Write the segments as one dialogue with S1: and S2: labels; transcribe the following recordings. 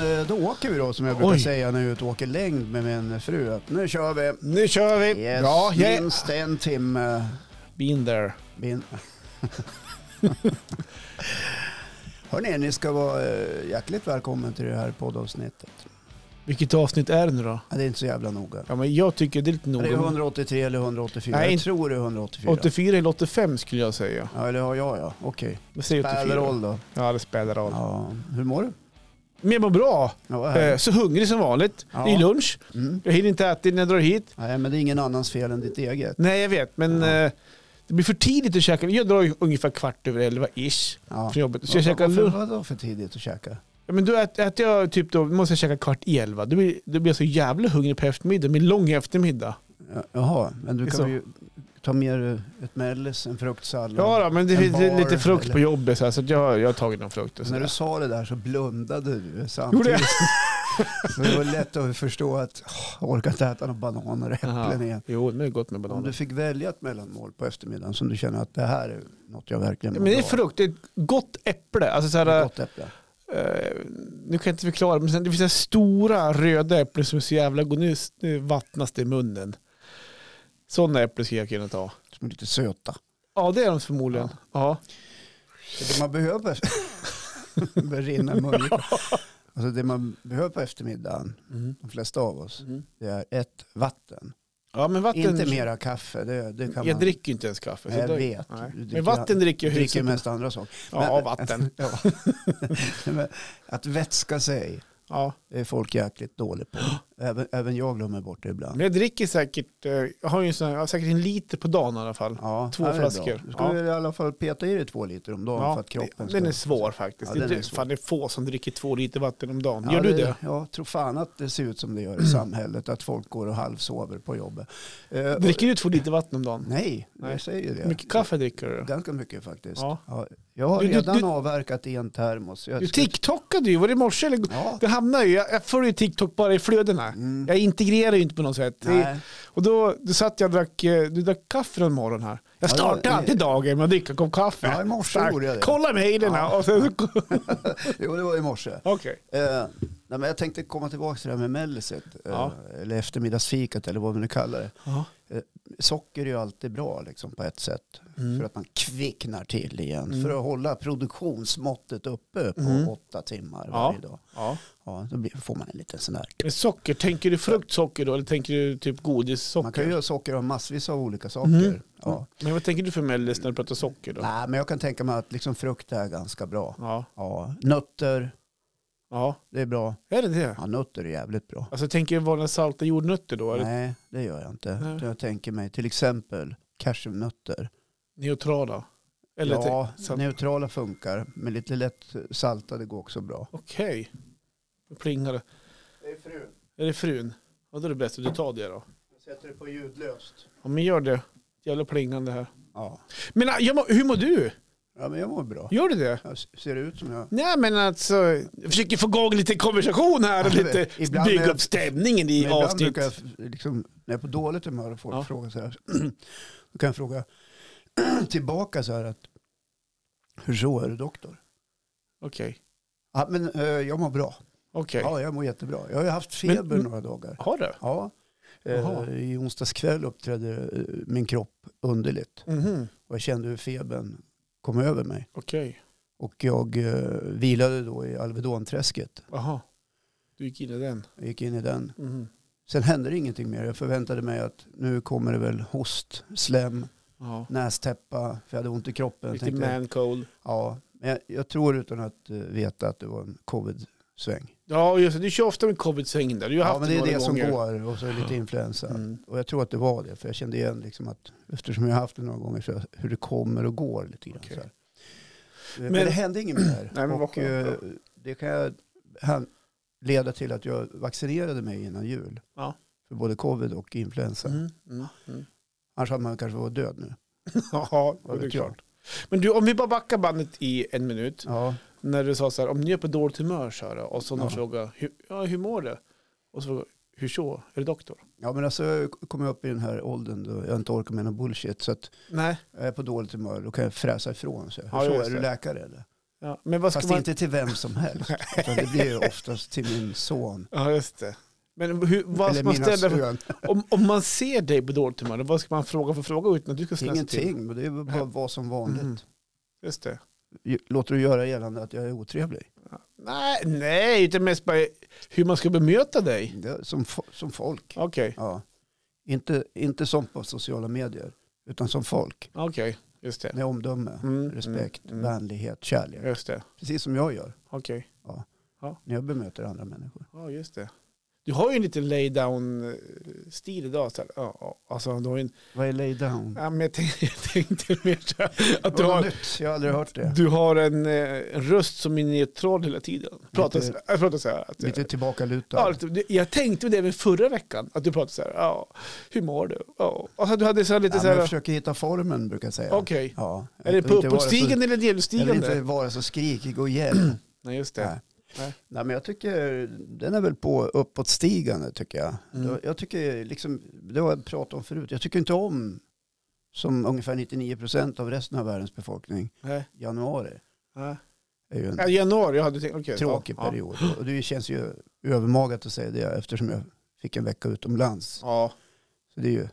S1: eh, då åker vi då som jag brukar
S2: Oj.
S1: säga när jag är ute och åker längd med min fru. Att nu kör vi.
S2: Nu kör vi!
S1: Yes,
S2: Bra, yeah.
S1: minst en timme.
S2: Been there.
S1: Min... Hörrni, ni ska vara eh, hjärtligt välkommen till det här poddavsnittet.
S2: Vilket avsnitt är det nu då?
S1: Ja, Det är inte så jävla noga.
S2: Ja, men jag tycker det är lite
S1: Är det
S2: noga.
S1: 183 eller 184?
S2: Nej,
S1: jag
S2: inte-
S1: tror det är 184.
S2: 84 eller 85 skulle jag säga.
S1: Ja, eller har jag ja. Okej.
S2: Jag säger 84.
S1: Spelar roll då.
S2: Ja, det spelar roll.
S1: Ja. Hur mår du?
S2: Men jag mår bra.
S1: Ja, vad
S2: Eh,
S1: härligt.
S2: Så hungrig som vanligt.
S1: Ja.
S2: Det är lunch.
S1: mm.
S2: Jag hinner inte äta innan jag drar hit.
S1: Nej, men det är ingen annans fel än ditt eget.
S2: Nej, jag vet, men
S1: Ja.
S2: eh, det blir för tidigt att käka. Jag drar ju ungefär kvart över elva ish
S1: Ja.
S2: från jobbet. Så jag käkar
S1: Varför
S2: lunch.
S1: var det för tidigt att käka?
S2: Ja, men då äter, äter jag typ då, måste jag käka kvart i elva. Då blir, då blir jag så jävla hungrig på eftermiddagen. Min lång eftermiddag.
S1: Ja, Jaha, men du
S2: Det är
S1: kan
S2: så.
S1: ju ta med dig ett mellis, en fruktsallad.
S2: Ja, då, men det
S1: En
S2: finns
S1: bar
S2: lite frukt
S1: eller-
S2: på jobbet så, här, så att jag, jag har tagit någon frukt. Och så
S1: När du
S2: där.
S1: sa det där så blundade du
S2: Gjorde
S1: samtidigt.
S2: jag?
S1: Så det var lätt att förstå att åh, jag orkar inte äta några bananer och äpplen
S2: Jaha.
S1: igen.
S2: Jo, men det är gott med
S1: Om du
S2: bananer.
S1: fick välja ett mellanmål på eftermiddagen som du känner att det här är något jag verkligen
S2: Ja,
S1: mår
S2: Men det är
S1: bra av.
S2: frukt, det är ett gott äpple. Alltså så här,
S1: Ett gott äpple.
S2: Eh, nu kan jag inte förklara, men sen, det finns så här stora röda äpplen som är så jävla goda. Nu, nu vattnas det i munnen. Sådana äpplen skulle jag kunna ta.
S1: Som är lite söta.
S2: Ja, det är de förmodligen. Ja.
S1: Så det man behöver... Det börjar rinna i munnen. Alltså det man behöver på eftermiddagen,
S2: Mm.
S1: de flesta av oss, det är ett vatten.
S2: Ja, men vatten...
S1: Inte mera kaffe, det, det kan
S2: jag
S1: man...
S2: dricker ju inte ens kaffe. så
S1: Nej, jag
S2: Typ. Alltså, då-
S1: vet.
S2: nej.
S1: Du dricker-
S2: Men vatten dricker
S1: Jag
S2: jag
S1: dricker
S2: hyfsat.
S1: mest andra saker.
S2: Ja, vatten.
S1: Ja. Men att vätska sig
S2: Ja.
S1: är folk jäkligt dåliga på. Även, även jag glömmer bort det
S2: Men
S1: ibland.
S2: jag dricker säkert, eh, jag har ju en sån här, jag har säkert en liter på dagen i alla fall.
S1: Ja,
S2: Två
S1: det är bra.
S2: flaskor.
S1: Du ska
S2: Ja.
S1: väl i alla fall peta i dig två liter om dagen för att kroppen
S2: den är svår faktiskt.
S1: Ja,
S2: det,
S1: den
S2: är,
S1: är
S2: inte-
S1: svår.
S2: Fan, det är få som dricker två liter vatten om dagen.
S1: Ja,
S2: Gör du det?
S1: Ja, tror fan att det ser ut som det gör i samhället, att folk går och halvsover på jobbet. Eh, och-
S2: Dricker du två liter vatten om dagen?
S1: Nej,
S2: Nej.
S1: jag säger det.
S2: Hur mycket kaffe dricker du?
S1: Ganska mycket faktiskt. Ja.
S2: Ja.
S1: jag har
S2: Du- du-
S1: redan
S2: du-
S1: avverkat i en termos. Jag
S2: Du
S1: ska-
S2: tiktokade ju, var det i morse eller?
S1: Ja.
S2: Det hamnar ju, jag, jag följer ju TikTok bara i flödena.
S1: Mm.
S2: Jag integrerar ju inte på något sätt. Det,
S1: Nej.
S2: och då, då satt jag och drack, eh, du drack kaffe en morgon här. Jag
S1: Ja,
S2: startar
S1: det-
S2: alltid dagen med att dricka en kopp kaffe.
S1: Ja, i morse
S2: Tack.
S1: gjorde jag det.
S2: Kolla mejlen
S1: Ja.
S2: och sen så...
S1: Jo, det var i morse.
S2: Okej.
S1: Eh, nej, men jag tänkte komma tillbaka till det här med melliset. Eh,
S2: Ja.
S1: Eller eftermiddagsfikat eller vad man nu kallar det.
S2: Ja.
S1: Socker är ju alltid bra liksom, på ett sätt.
S2: Mm.
S1: För att man kvicknar till igen.
S2: Mm.
S1: För att hålla produktionsmåttet uppe på
S2: Mm.
S1: åtta timmar
S2: Ja.
S1: varje dag.
S2: Ja.
S1: Ja, då blir, får man en liten sån där.
S2: Men Socker, tänker du fruktsocker då eller tänker du typ godissocker?
S1: Man kan ju göra socker av massvis av olika saker.
S2: Mm.
S1: Ja.
S2: Men vad tänker du för mellis när du pratar socker då?
S1: Nej, men jag kan tänka mig att liksom frukt är ganska bra.
S2: Ja.
S1: Ja. Nötter,
S2: ja,
S1: det är bra.
S2: är det det?
S1: Ja, nötter är jävligt bra.
S2: Alltså tänker du vanliga salta jordnötter då? Eller
S1: Nej, det gör jag inte.
S2: Nej.
S1: Jag tänker mig till exempel cashewnötter.
S2: neutrala? Eller
S1: ja,
S2: tänk- salt-
S1: neutrala funkar, men lite lätt saltade går också bra.
S2: Okej. Nu plingar det.
S1: Det är frun.
S2: Är det frun? Ja, då är det bäst att du tar det då.
S1: Jag sätter det på ljudlöst.
S2: Ja, men gör det. Jävla plingande här.
S1: Ja,
S2: Men äh, jag må, hur mår du?
S1: ja men jag mår bra.
S2: Gör du det?
S1: Jag s- ser ut som jag...
S2: Nej, men alltså. Jag försöker få igång lite konversation här och
S1: Ja,
S2: lite
S1: ibland
S2: bygga
S1: är-
S2: upp stämningen
S1: Men
S2: i
S1: ibland
S2: avsnitt.
S1: brukar jag, f- liksom, när jag är på dåligt humör och folk
S2: Ja.
S1: frågar så här, då kan jag fråga tillbaka så här att, hur så är du doktor?
S2: Okej.
S1: Ja, men eh, jag mår bra.
S2: Okej.
S1: Ja, jag mår jättebra. Jag har ju haft feber
S2: Men-
S1: några dagar.
S2: Har du?
S1: Ja.
S2: Jaha.
S1: Eh, I onsdags kväll uppträdde eh, min kropp underligt.
S2: Mhm.
S1: Och jag kände hur febern kom över mig.
S2: Okej.
S1: Och jag eh, vilade då i Alvedonträsket.
S2: Jaha. Du gick in i den.
S1: Jag gick in i den.
S2: Mhm.
S1: Sen hände det ingenting mer. Jag förväntade mig att nu kommer det väl host, slem,
S2: Ja.
S1: nästäppa. För jag hade ont i kroppen.
S2: Lite
S1: Tänkte,
S2: man cold.
S1: ja, men jag, jag tror utan att eh, veta att det var en covid-sväng.
S2: Ja, just det. Du kör ofta med covid-svängen där. Du
S1: Ja,
S2: har haft
S1: men det är
S2: några
S1: det som
S2: gånger.
S1: går. Och så är det lite influensa.
S2: Mm.
S1: Och jag tror att det var det, för jag kände igen liksom att eftersom jag har haft det några gånger så hur det kommer och går lite grann.
S2: Okej.
S1: Så här. Eh, Men,
S2: Men-
S1: det hände inget mer.
S2: Nej, men vad
S1: och,
S2: skönt då.
S1: eh, det kan jag han- leda till att jag vaccinerade mig innan jul.
S2: Ja.
S1: För både covid och influensa.
S2: Mm. Mm. Mm.
S1: Annars hade man kanske varit död nu.
S2: Ja,
S1: Vad
S2: det är
S1: vet jag.
S2: klart. Men du, om vi bara backar bandet i en minut.
S1: Ja,
S2: När du sa så här, om ni är på dåligt humör så här, och så någon
S1: Ja.
S2: frågar, hur, ja, hur mår du? Och så frågar hur så? Är du doktor?
S1: ja men alltså jag kommer upp i den här åldern då jag inte orkar med någon bullshit. Så att
S2: Nej.
S1: jag är på dåligt humör, då kan jag fräsa ifrån. Så, jag, hur
S2: Ja,
S1: så
S2: just
S1: är du
S2: det.
S1: läkare eller?
S2: Ja, men vad ska
S1: Fast
S2: man...
S1: inte till vem som helst. Utan det blir ju oftast till min son.
S2: Ja, just det. Men hur, vad
S1: eller
S2: ska man
S1: mina
S2: ställa för...
S1: sön.
S2: om, om man ser dig på dåligt humör, vad ska man fråga för fråga utan att du ska snäsa till?
S1: Ingenting, men det är ju bara vad som vanligt.
S2: Mm. Just det.
S1: Låter du göra gällande att jag är otrevlig?
S2: Nej, nej, utan mest bara hur man ska bemöta dig.
S1: Det- Som, fo- som folk.
S2: Okej,
S1: Ja. Inte, inte som på sociala medier, utan som folk.
S2: okej, just det.
S1: Med omdöme,
S2: Mm,
S1: respekt,
S2: mm, mm.
S1: vänlighet, kärlek.
S2: Just det,
S1: Precis som jag gör
S2: okej.
S1: när jag bemöter andra människor.
S2: Ja, just det. Du har ju en liten lay down eh, stil idag. Så här. Ja, ja, Alltså, du har ju en...
S1: Vad är lay down?
S2: ja, men jag, tänkte, jag tänkte mer så här, att
S1: Att
S2: du har,
S1: nytt. Jag har aldrig hört det.
S2: du har en, eh, en röst som är neutral hela tiden. Pratar,
S1: Lite-
S2: så- jag pratar så här. Att,
S1: Lite tillbakalutad.
S2: Ja, lite- jag tänkte på det även förra veckan, att du pratade så här, ja, hur mår du? Ja, alltså, du hade så här lite
S1: ja,
S2: så
S1: men
S2: här,
S1: jag
S2: okej,
S1: försöker hitta formen brukar jag säga. Ja, jag
S2: är det
S1: vill
S2: på
S1: inte vara så-
S2: uppåtstigande eller
S1: Jag vill inte
S2: nedstigande?
S1: vara så skrikig och gäll.
S2: Nej, just det.
S1: Nej. Nej, men jag tycker den är väl på uppåtstigande tycker jag.
S2: Mm.
S1: Jag- Jag tycker, liksom, det har jag pratat om förut, jag tycker inte om som ungefär 99 procent av resten av världens befolkning,
S2: Nej.
S1: januari.
S2: Nej.
S1: är ju en
S2: Ja, januari, jag hade tänkt, okej.
S1: tråkig
S2: ja,
S1: period. Och det känns ju övermagat att säga det eftersom jag fick en vecka utomlands.
S2: Ja. ja.
S1: Så det är ju,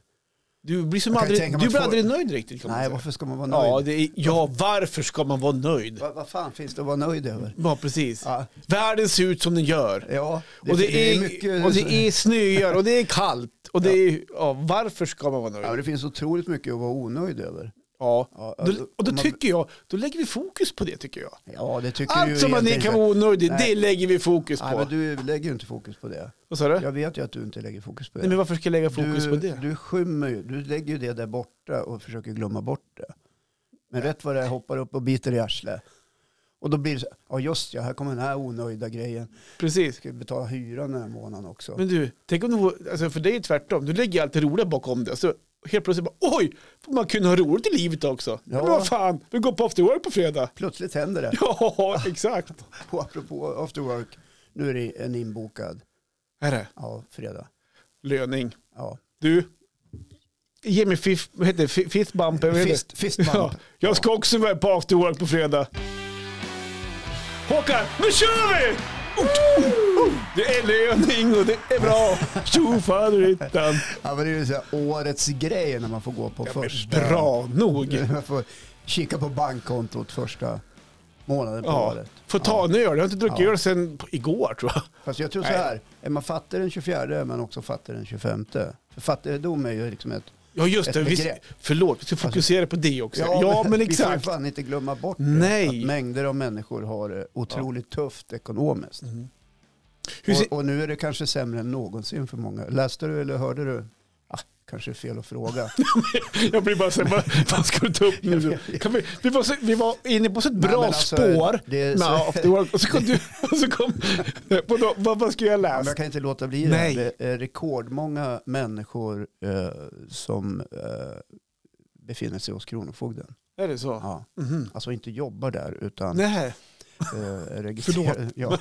S2: Du blir, som
S1: Jag kan ju
S2: aldrig,
S1: tänka
S2: du
S1: mig
S2: blir
S1: att få-
S2: aldrig nöjd riktigt kan man
S1: nej,
S2: säga.
S1: varför ska man vara
S2: Ja,
S1: nöjd?
S2: det är, ja, varför ska man vara nöjd?
S1: Vad, vad fan finns det att vara nöjd över?
S2: Ja, precis.
S1: Ja,
S2: Världen ser ut som den gör.
S1: ja det,
S2: Och det,
S1: det
S2: är,
S1: mycket...
S2: och det är snöar och det är kallt. Och det är, ja, varför ska man vara nöjd?
S1: Ja, det finns otroligt mycket att vara onöjd över.
S2: Ja.
S1: Ja,
S2: Då, och
S1: om
S2: då
S1: man-
S2: tycker jag, då lägger vi fokus på det tycker jag.
S1: Ja, det tycker du ju
S2: Allt som man
S1: egentligen
S2: kan
S1: inte.
S2: vara onöjd i,
S1: Nej.
S2: det lägger vi fokus
S1: Nej,
S2: på.
S1: men du lägger ju inte fokus på det.
S2: Vad sa du?
S1: Jag vet ju att du inte lägger fokus på det.
S2: Nej, men varför ska jag lägga fokus
S1: du,
S2: på det?
S1: Du skymmer ju, du lägger ju det där borta och försöker glömma bort det. Men rätt vad det är hoppar upp och biter i arslet. Och då blir det så, ja just ja, här kommer den här onöjda grejen.
S2: Precis.
S1: Ska vi betala hyran den här månaden också?
S2: Men du, tänk om du vore- alltså för dig är det tvärtom. Du lägger allt det roliga bakom det. Så helt plötsligt bara, oj, får man kunna ha roligt i livet också.
S1: Ja.
S2: Men vad fan, vi går på after work på fredag.
S1: Plötsligt händer det.
S2: Ja, exakt.
S1: Och apropå after work, nu är det en inbokad,
S2: Är det?
S1: ja, fredag.
S2: Löning.
S1: Ja.
S2: Du, ge mig fif, vad heter det? Fi- fist bump. vad heter det?
S1: Fist, fist bump.
S2: Ja, jag ska också iväg på after work på fredag. Håkan, nu kör vi! Det är löning och det är bra. Tjofaderittan.
S1: Ja, men det är ju så här, årets grej när man får gå på första...
S2: Bra nog.
S1: Man får kika på bankkontot första månaden på
S2: Ja,
S1: året.
S2: få ta en öl. Jag har inte druckit
S1: Ja.
S2: öl sedan på- igår tror jag.
S1: Fast jag tror så
S2: Nej.
S1: här, är man fattig den 24 är man också fattig den 25. För fattigdom är ju liksom ett...
S2: Ja just
S1: Ett
S2: det, vi,
S1: begrepp.
S2: förlåt. Vi ska fokusera på det också. Ja men
S1: Vi får ju
S2: exakt.
S1: fan inte glömma bort det,
S2: Nej.
S1: att mängder av människor har det otroligt tufft ekonomiskt.
S2: Mm. Hur ser-
S1: Och, och nu är det kanske sämre än någonsin för många. Läste du eller hörde du? Ah, kanske är fel att fråga.
S2: Jag blir bara såhär, vad, vad ska du ta upp nu? Kan vi, vi, var så, vi var inne på så ett
S1: Nej,
S2: bra
S1: men alltså,
S2: spår.
S1: det är
S2: med
S1: så-
S2: after work, och så kom du, och så kom, vadå, vad, vad ska jag
S1: Ja, men
S2: läsa?
S1: jag Alltså, kan inte låta bli
S2: Nej.
S1: det. Det är rekordmånga människor eh, som eh, befinner sig hos Kronofogden.
S2: Är det så?
S1: Ja.
S2: Mhm.
S1: Alltså inte jobbar där utan
S2: Nej,
S1: eh, är registrerade. Ja.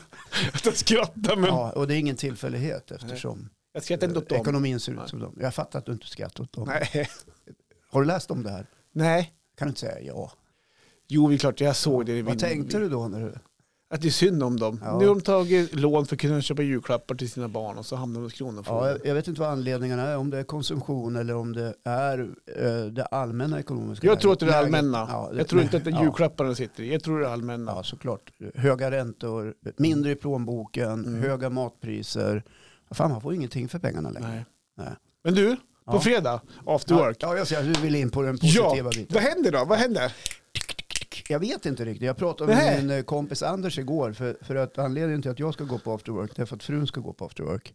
S2: jag skrattar men
S1: ja, och det är ingen tillfällighet eftersom
S2: jag skrattar inte åt
S1: eh,
S2: dem.
S1: ekonomin ser
S2: Nej.
S1: ut som dem. Jag fattar att du inte skrattar åt dem.
S2: Nej.
S1: Har du läst om det här?
S2: Nej.
S1: Kan du inte säga ja?
S2: Jo, det är klart jag såg det. i min-
S1: Vad tänkte du då? När du...
S2: Att det är synd om dem.
S1: Ja.
S2: Nu har de tagit lån för att kunna köpa julklappar till sina barn och så hamnar de hos
S1: Ja,
S2: Kronofogden.
S1: jag- jag vet inte vad anledningarna är, om det är konsumtion eller om det är eh, det allmänna ekonomiska
S2: jag tror att det är det
S1: läget.
S2: allmänna.
S1: Ja, det-
S2: jag tror inte att det är
S1: ja.
S2: julklapparna sitter i. Jag tror det är allmänna.
S1: Ja, såklart. Höga räntor, mindre i plånboken,
S2: Mm.
S1: höga matpriser. Fan, man får ingenting för pengarna längre.
S2: Nej.
S1: Nej.
S2: Men du, på
S1: Ja.
S2: fredag, after
S1: Ja,
S2: work.
S1: ja, jag ser, du vill in på den positiva
S2: Ja,
S1: biten.
S2: vad händer då? Vad händer?
S1: Jag vet inte riktigt. Jag pratade
S2: Nej.
S1: med min eh, kompis Anders igår. För, för att anledningen till att jag ska gå på after work det är för att frun ska gå på after work.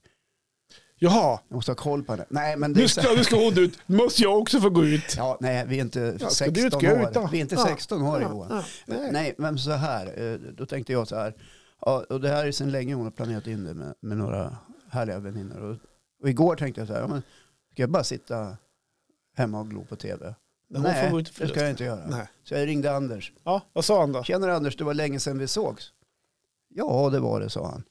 S2: Jaha,
S1: Jag måste ha koll på henne. Nej, men det är
S2: nu
S1: så
S2: ska, nu ska hon ut. Nu måste jag också få gå ut.
S1: Ja, nej, vi är inte
S2: ska
S1: 16
S2: du ut, ska jag ut då?
S1: år. Vi är inte
S2: Ja.
S1: 16 år Johan.
S2: Ja, nej.
S1: Nej, men så här, eh, då tänkte jag så här, ja, och det här är sedan länge hon har planerat in det med, med några härliga vänner. Och, och igår tänkte jag så här, ja, men, ska jag bara sitta hemma och glo på tv?
S2: Men hon
S1: Nej,
S2: får gå ut
S1: det
S2: och
S1: ska
S2: förlusta.
S1: jag inte göra.
S2: Nej.
S1: Så jag ringde Anders.
S2: Ja, vad sa han då?
S1: Tjenare Anders, det var länge sedan vi sågs. Ja, det var det, sa han.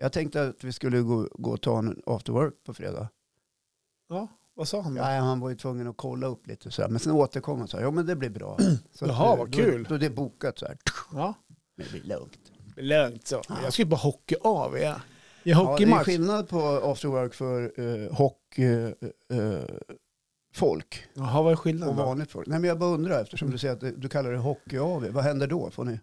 S1: Jag tänkte att vi skulle gå, gå och ta en after work på fredag.
S2: Ja, Vad sa han då?
S1: Nej, han var ju tvungen att kolla upp lite så här. Men sen återkom han så här, ja men det blir bra. Så att,
S2: Jaha,
S1: eh,
S2: vad
S1: då-
S2: kul.
S1: Då är det bokat så här.
S2: Ja.
S1: Men det blir lugnt.
S2: Lugnt så. Jag skulle bara hockey av er. I
S1: Ja, det är
S2: hockeymatch.
S1: skillnad på after work för uh, hockey, eh, eh, folk
S2: Jaha, vad är
S1: och
S2: skillnaden då?
S1: vanligt folk. Nej men jag bara undrar eftersom du säger att det- du kallar det hockey av. Vad händer då? Får ni,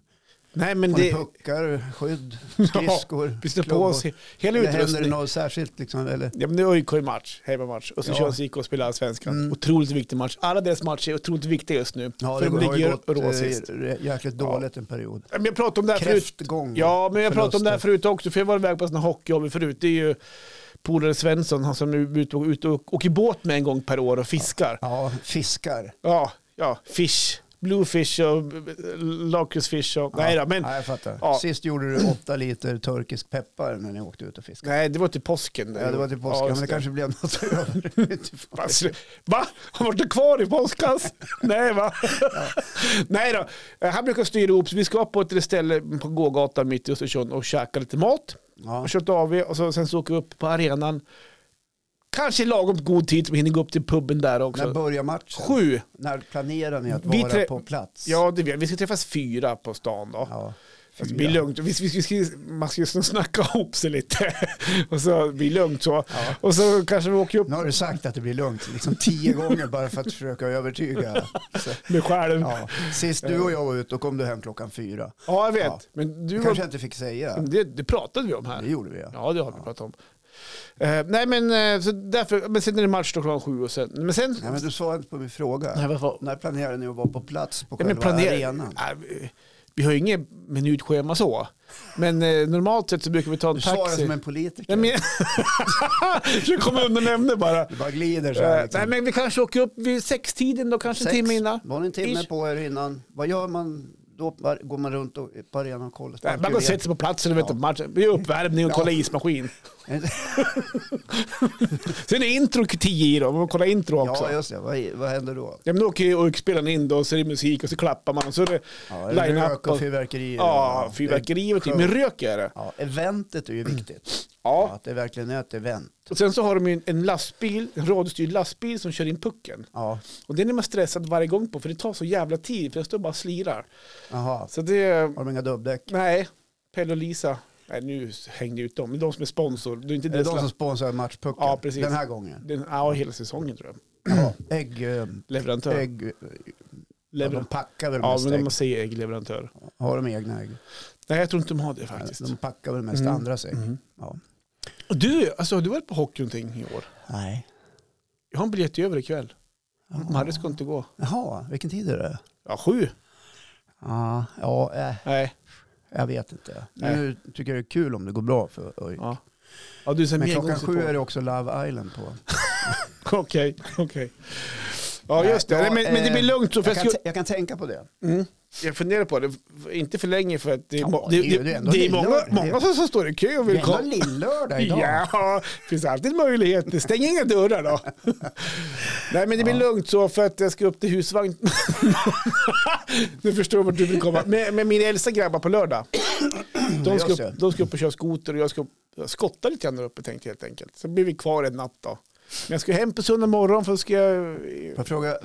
S2: Nej, men
S1: får ni
S2: det...
S1: puckar, skydd, skridskor?
S2: Vi slår på
S1: klubbor?
S2: oss he- hela
S1: Eller händer det
S2: utrustningen.
S1: något särskilt liksom? Eller?
S2: Ja, men det är AIK-match, hemmamatch. Och så
S1: Ja.
S2: körs IK och spelar Allsvenskan.
S1: Mm.
S2: Otroligt viktig match. Alla deras matcher är otroligt viktiga just nu.
S1: Ja,
S2: för
S1: det
S2: de
S1: har ju
S2: ligger
S1: gått
S2: rå
S1: eh,
S2: sist.
S1: re- jäkligt
S2: Ja.
S1: dåligt en period.
S2: Ja, Men jag pratade om det här förut.
S1: Kräftgång.
S2: Ja, men jag pratade om det här
S1: förluster.
S2: förut också, för jag var iväg på sådana hockeyhobby förut. Det är ju polare Svensson, han som är ute och, ute och åker båt med en gång per år och fiskar.
S1: Ja, fiskar.
S2: Ja, ja, fish. Bluefish och lakritsfish och... Nej då, men...
S1: Ja, jag fattar.
S2: Ja.
S1: Sist gjorde du åtta liter turkisk peppar när ni åkte ut och fiskade.
S2: Nej, det var till påsken.
S1: Ja, det var till påsken,
S2: Ja,
S1: men det kanske blev något över.
S2: Fan, slu- Va? Har varit kvar i påskas? Nej va? Nej då. Eh, Han brukar styra ihop, så vi ska på ett ställe på gågatan mitt i Östersund och käka lite mat.
S1: Ja.
S2: och kört av er och så, sen så åker vi upp på arenan. Kanske i lagom god tid så vi hinner gå upp till puben där
S1: När
S2: också.
S1: börjar matchen?
S2: Sju.
S1: När planerar ni att
S2: Vi
S1: vara
S2: tre-
S1: på plats?
S2: Ja, det vet Vi ska träffas fyra på stan då.
S1: ja.
S2: Alltså, det blir lugnt. Vi, vi, vi, ska- man ska ju snacka ihop sig lite. och så blir det lugnt så.
S1: Ja.
S2: Och så kanske vi åker upp
S1: Nu har du sagt att det blir lugnt liksom tio gånger bara för att försöka övertyga. Så,
S2: med själen. Ja,
S1: ja. Sist du och jag var ute då kom du hem klockan fyra.
S2: jag vet.
S1: Ja.
S2: Men du
S1: Det
S2: var-
S1: kanske jag inte fick säga.
S2: det, det pratade vi om här.
S1: Det gjorde vi ja.
S2: Ja, det har vi pratat om. Eh, nej, men, eh, så därför, men sen är det match då klockan sju och sen... Men sen...
S1: Nej, men du svarade inte på min fråga.
S2: Nej, vad fan.
S1: När planerar ni att vara på plats på
S2: Ja,
S1: själva
S2: men planera.
S1: arenan?
S2: Nej, vi- vi har ju inget minutschema så. Men eh, normalt sett så brukar vi ta en
S1: Du svarar
S2: taxi.
S1: som en politiker.
S2: Nej, men... jag kommer undan ämnet bara.
S1: Du bara glider så här.
S2: Eh,
S1: Liksom.
S2: Nej, men vi kanske åker upp vid sextiden då, kanske en
S1: Sex.
S2: timme innan.
S1: Var ni en timme
S2: Ish.
S1: på er innan? Vad gör man? Då Var- går man runt och, på arenan och kollar.
S2: Nej, Man går och sätter sig på platsen och väntar på matchen. Vi gör uppvärmning och kollar ismaskin. Sen är intro tio i då, man kollar intro också.
S1: Ja,
S2: Ja,
S1: just det. Vad, vad händer då?
S2: men då åker ju orkspelaren in då, så är det musik och så klappar man. Så är det
S1: Ja,
S2: line-up.
S1: rök och
S2: Och...
S1: fyrverkerier.
S2: Ja, fyrverkerier och typ. Men rök är det.
S1: Ja, eventet är ju viktigt.
S2: Ja.
S1: Att det verkligen är ett event.
S2: Och sen så har de ju en- en lastbil, en radiostyrd lastbil som kör in pucken.
S1: Ja,
S2: Och den är man stressad varje gång på för det tar så jävla tid för jag står bara och slirar.
S1: jaha.
S2: Så det,
S1: Har de inga dubbdäck?
S2: nej, Pelle och Lisa, nej nu hängde jag ut dem, det är de som är sponsor. Det är inte
S1: Är det
S2: deras
S1: de som
S2: last-
S1: sponsrar matchpucken?
S2: Ja, precis.
S1: Den här gången?
S2: den, ja, hela säsongen tror jag.
S1: Ja, ägg... eh,
S2: Leverantör.
S1: ägg eh, ja, de
S2: Leveran-
S1: packar väl
S2: ja,
S1: mest
S2: men
S1: ägg?
S2: de säger äggleverantör.
S1: Har de egna ägg?
S2: Nej, jag tror inte de har det faktiskt.
S1: De packar väl mest
S2: Mm.
S1: andras ägg? Ja.
S2: Och du, alltså har du varit på hockey någonting i år?
S1: Nej.
S2: Jag har en biljett över ikväll. Marre ska inte gå.
S1: Jaha, vilken tid är det?
S2: Ja, sju.
S1: Ja, ja eh,
S2: Nej.
S1: jag vet inte.
S2: Nej.
S1: Nu tycker jag det är kul om det går bra för ÖIK.
S2: Ja. Ja, du, sen
S1: Men
S2: mer
S1: klockan
S2: gånger
S1: sju
S2: på.
S1: är det också Love Island på.
S2: Okej, okej. Ja,
S1: Nej,
S2: just det.
S1: ja,
S2: Nej, men, men det
S1: eh,
S2: blir lugnt. Så för
S1: Jag
S2: jag,
S1: kan,
S2: skulle,
S1: t- jag kan tänka på det.
S2: mm, jag funderar på det. F- Inte för länge för att det är,
S1: Ja,
S2: må-
S1: det
S2: det,
S1: är ju-
S2: det,
S1: det är
S2: det,
S1: ändå
S2: är
S1: lilla-
S2: många,
S1: det-
S2: många som, som står i kö och
S1: Det
S2: vill
S1: är
S2: komma.
S1: ändå lördag idag.
S2: Ja, det finns alltid möjlighet. Stäng inga dörrar då. Nej, men det blir lugnt så för att jag ska upp till husvagn. nu förstår jag vart du vill komma. Med, med mina äldsta grabbar på lördag. De ska,
S1: Just det.
S2: upp, de ska upp och köra skoter och jag ska upp- jag skotta lite grann där uppe tänkte jag helt enkelt. Så blir vi kvar en natt då. Men jag ska hem på söndag morgon för ska jag...
S1: Får jag fråga,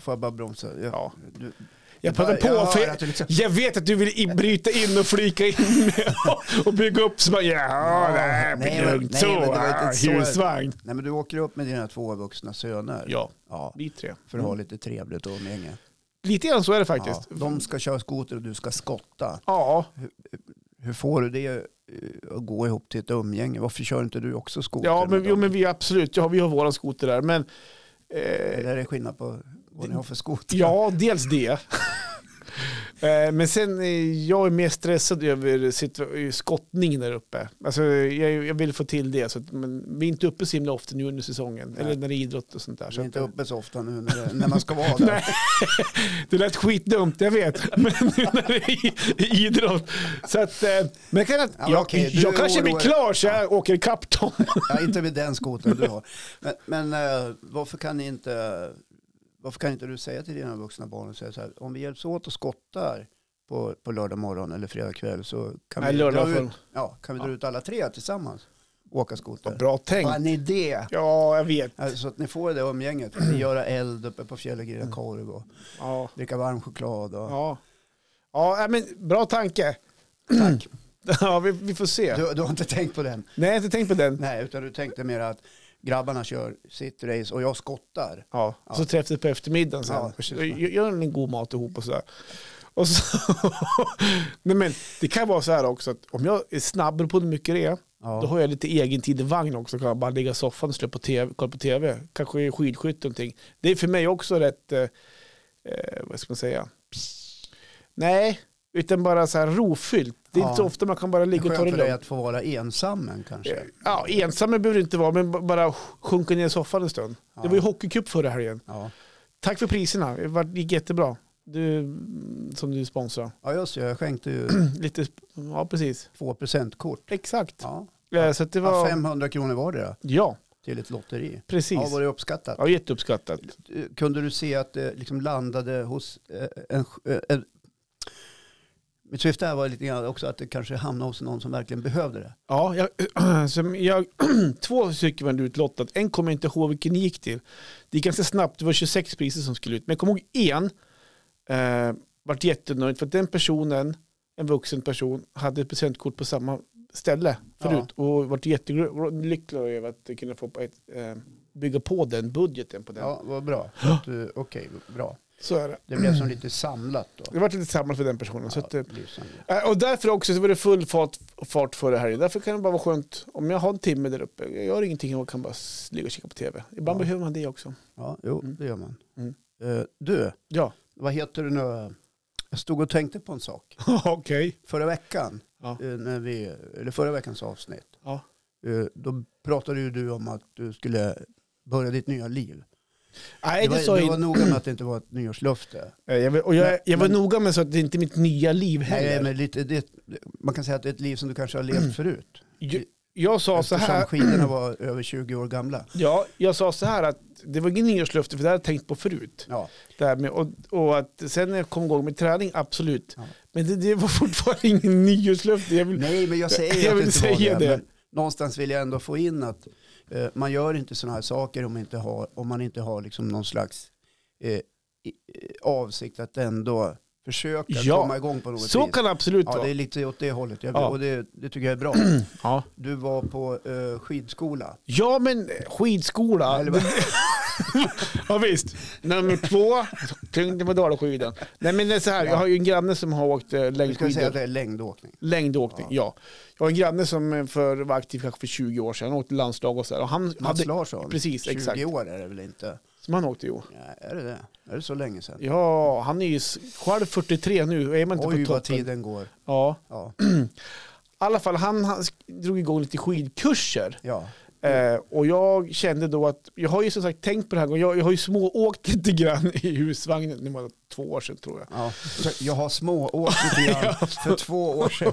S1: får jag bara bromsa? Jag,
S2: Ja.
S1: du,
S2: Jag passar
S1: Jag
S2: på
S1: hör
S2: för
S1: att
S2: jag,
S1: du liksom-
S2: jag vet att du vill i- bryta in och flika in med och bygga upp så bara, ja, nej,
S1: nej,
S2: men
S1: men-
S2: lugnt
S1: nej,
S2: så.
S1: men det var inte
S2: ah,
S1: så-
S2: Husvagn.
S1: nej men du åker upp med dina två vuxna söner.
S2: Ja,
S1: Ja,
S2: vi tre.
S1: för att ha lite trevligt och umgänge.
S2: Lite grann så är det
S1: Ja,
S2: faktiskt.
S1: de ska köra skoter och du ska skotta.
S2: Ja,
S1: Hur får du det eh, att gå ihop till ett umgänge? Varför kör inte du också skoter?
S2: ja men,
S1: med
S2: jo,
S1: dem?
S2: men vi absolut, ja, vi har våran skoter där. Men eh,
S1: Eller är det skillnad på vad ni har för skoter?
S2: ja, dels det. Eh, Men sen, eh, jag är mer stressad över situa- eh, skottning där uppe. Alltså, jag, jag vill få till det. Så att, men vi är inte uppe så himla ofta nu under säsongen.
S1: Nej.
S2: Eller när det är idrott och sånt där.
S1: Jag
S2: Så
S1: är
S2: att,
S1: inte uppe så ofta nu när, när man ska vara
S2: Nej.
S1: där.
S2: Det lät skitdumt, jag vet. Men nu när det är i- i idrott. Så att, eh, men jag, kan,
S1: men
S2: jag,
S1: okej, du
S2: jag kanske blir
S1: oroar-
S2: klar så jag åker ikapp dem.
S1: Ja, inte med den skotern du har. Men, men eh, varför, kan ni inte, varför kan inte du säga till dina vuxna barn och säga så här, om vi hjälps åt och skottar på, på lördag morgon eller fredag kväll så kan
S2: Nej,
S1: vi,
S2: lördag
S1: dra
S2: får-
S1: ut, ja, kan vi dra ut alla tre tillsammans. åka skoter.
S2: Bra tänkt.
S1: Vad en idé!
S2: Ja, jag vet.
S1: Så att ni får det umgänget. Ni göra eld uppe på fjället, grilla korv och
S2: Ja.
S1: dricka varm choklad. Och...
S2: Ja, ja nej, men bra tanke. Tack. ja, vi, vi får se.
S1: Du, du har inte tänkt på den?
S2: Nej, jag har inte tänkt på den.
S1: Nej, utan du tänkte mer att grabbarna kör sitt race och jag skottar.
S2: Ja, och så träffas vi på eftermiddagen sen.
S1: Ja, precis.
S2: och gör gör en god mat ihop och sådär. Och så, nej men, det kan vara så här också att om jag är snabbare på hur mycket det är,
S1: Ja.
S2: då har jag lite egen tid i vagn också. Kan jag bara ligga i soffan och slå på TV, kolla på tv. Kanske skidskytte och någonting. Det är för mig också rätt, eh, eh, vad ska man säga? Nej, utan bara så här rofyllt. Det är
S1: Ja.
S2: inte så ofta man kan bara ligga och
S1: Skönt
S2: ta det
S1: för dig
S2: lugnt.
S1: att få vara ensammen kanske.
S2: Ja, ensam behöver du inte vara, men b- bara sjunka ner i soffan en stund. Det var ju hockeycup förra helgen.
S1: Ja,
S2: Tack för priserna, det var- gick jättebra. Du, mm, som du sponsrar.
S1: ja just det, jag skänkte ju
S2: Lite, sp- ja precis.
S1: två presentkort.
S2: Exakt.
S1: Ja.
S2: Eh, Så att det
S1: Ja,
S2: var,
S1: 500 kronor var det då,
S2: ja
S1: till ett lotteri.
S2: precis.
S1: Ja, var det uppskattat? Eh,
S2: Ja, jätteuppskattat.
S1: Kunde du se att det liksom landade hos eh, en... eh, en mitt syfte här var lite grann också att det kanske hamnade hos någon som verkligen behövde det.
S2: Ja, jag, som jag, två stycken var utlottat. En kommer jag inte ihåg vilken det gick till. Det gick ganska snabbt, det var 26 priser som skulle ut. Men jag kommer ihåg en, eh, vart jättenöjd för att den personen, en vuxen person, hade ett presentkort på samma ställe förut. Och vart jättelycklig över att kunna få på ett, eh, bygga på den budgeten på den.
S1: Ja, vad bra. Så att du- Okej, bra.
S2: Så är det.
S1: Det blev som lite samlat då.
S2: Det vart lite samma för den personen. Mm. Så
S1: Ja,
S2: att,
S1: det
S2: eh,
S1: blir samlat.
S2: Eh, Och därför också så var det full fart, fart för det här. Därför kan det bara vara skönt om jag har en timme där uppe. Jag gör ingenting och kan bara s- ligga och kika på tv. Ibland
S1: Ja.
S2: behöver man det också.
S1: Ja, jo,
S2: Mm.
S1: det gör man.
S2: Mm.
S1: Eh, Du,
S2: Ja,
S1: vad heter du nu? Jag stod och tänkte på en sak.
S2: okej.
S1: Förra veckan,
S2: Ja.
S1: eh, när vi, eller förra veckans avsnitt,
S2: Ja.
S1: eh, då pratade ju du om att du skulle börja ditt nya liv.
S2: Nej,
S1: det
S2: det
S1: var,
S2: sa
S1: du
S2: jag
S1: var
S2: inte.
S1: noga med att det inte var ett nyårslöfte.
S2: Eh, Jag, var- och jag, jag var
S1: Men-
S2: noga med så att det inte är mitt nya liv
S1: Nej,
S2: heller.
S1: men lite, det, man kan säga att det är ett liv som du kanske har levt förut.
S2: jag, jag sa så
S1: Eftersom
S2: här.
S1: skidorna var över 20 år gamla.
S2: Ja, jag sa så här att det var ingen nyårslöfte för det hade jag tänkt på förut.
S1: Ja,
S2: Det här med, och, och att sen när jag kom igång med träning, absolut.
S1: Ja.
S2: Men det, det var fortfarande ingen nyårslöfte. Jag vill,
S1: Nej, men jag säger
S2: Jag
S1: ju att
S2: vill
S1: det inte var
S2: säga
S1: det.
S2: det.
S1: Men någonstans vill jag ändå få in att eh, man gör inte sådana här saker om, inte har, om man inte har liksom någon slags eh, i, eh, avsikt att ändå försöka
S2: Ja,
S1: komma igång på något
S2: så
S1: vis.
S2: kan det absolut
S1: ja,
S2: vara.
S1: det är lite åt det hållet. Jag,
S2: Ja.
S1: Och det, det tycker jag är bra.
S2: Ja.
S1: Du var på eh, skidskola.
S2: Ja, men skidskola.
S1: Eller vad?
S2: ja, visst. Nummer två, tyngden på dalskidan. Nej, men det är så här, jag har ju en granne som har åkt eh,
S1: Vi ska säga att
S2: längdskidor.
S1: det är längdåkning.
S2: Längdåkning, ja. Jag har en granne som eh, för, var aktiv kanske för 20 år sedan, åkte landslag och så här. Och han
S1: Mats
S2: hade,
S1: Larsson,
S2: precis,
S1: 20
S2: exakt.
S1: år är det väl inte?
S2: som han åkte, jo.
S1: Ja, är det det? Är det så länge sedan?
S2: Ja, han är ju s- själv 43 nu, är man inte
S1: Oj
S2: på
S1: vad
S2: toppen?
S1: tiden går.
S2: Ja.
S1: Ja,
S2: I alla fall, han, han sk- drog igång lite skidkurser.
S1: ja.
S2: Eh, och jag kände då att, jag har ju som sagt tänkt på det här, och jag, jag har ju smååkt lite grann i husvagnen, det var två år sedan tror jag.
S1: Ja, så jag har smååkt lite grann för två år sedan.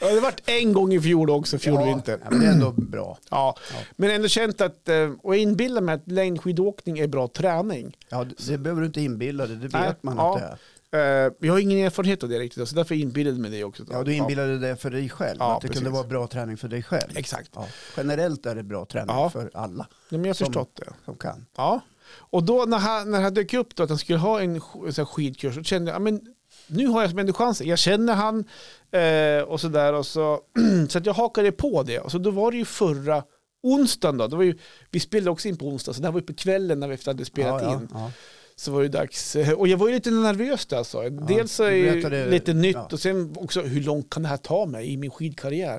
S2: Ja, det varit en gång i fjol också, fjolvinter.
S1: Ja, men det är ändå bra.
S2: Ja. Men ändå känt att, eh, och jag inbillar mig att längdskidåkning är bra träning.
S1: Ja, det det behöver du inte inbilla dig, det vet
S2: Nej,
S1: man
S2: ja.
S1: att det är.
S2: Eh, Jag har ingen erfarenhet av det riktigt, så därför inbillade jag mig det också.
S1: Ja, du inbillade dig för dig själv,
S2: Ja,
S1: att det kunde
S2: precis.
S1: vara bra träning för dig själv.
S2: Ja, Exakt,
S1: Ja. Generellt är det bra träning
S2: Ja.
S1: för alla
S2: Nej, men jag har
S1: Som-
S2: förstått det.
S1: som kan.
S2: Ja. Och då när han, när han dök upp då, att han skulle ha en sk- så här skidkurs, så kände jag, ja, men nu har jag som ändå chansen. Jag känner han eh, och sådär. och Så, så att jag hakade på det. Och så då var det ju förra onsdagen då. Det var ju, vi spelade också in på onsdag, så det här var ju på kvällen när vi efter hade spelat
S1: ja,
S2: in.
S1: Ja,
S2: Så var det ju dags. eh, Och jag var ju lite nervös där alltså. Dels så är
S1: du
S2: ju
S1: berättade-
S2: lite nytt
S1: ja.
S2: och sen också hur långt kan det här ta mig i min skidkarriär?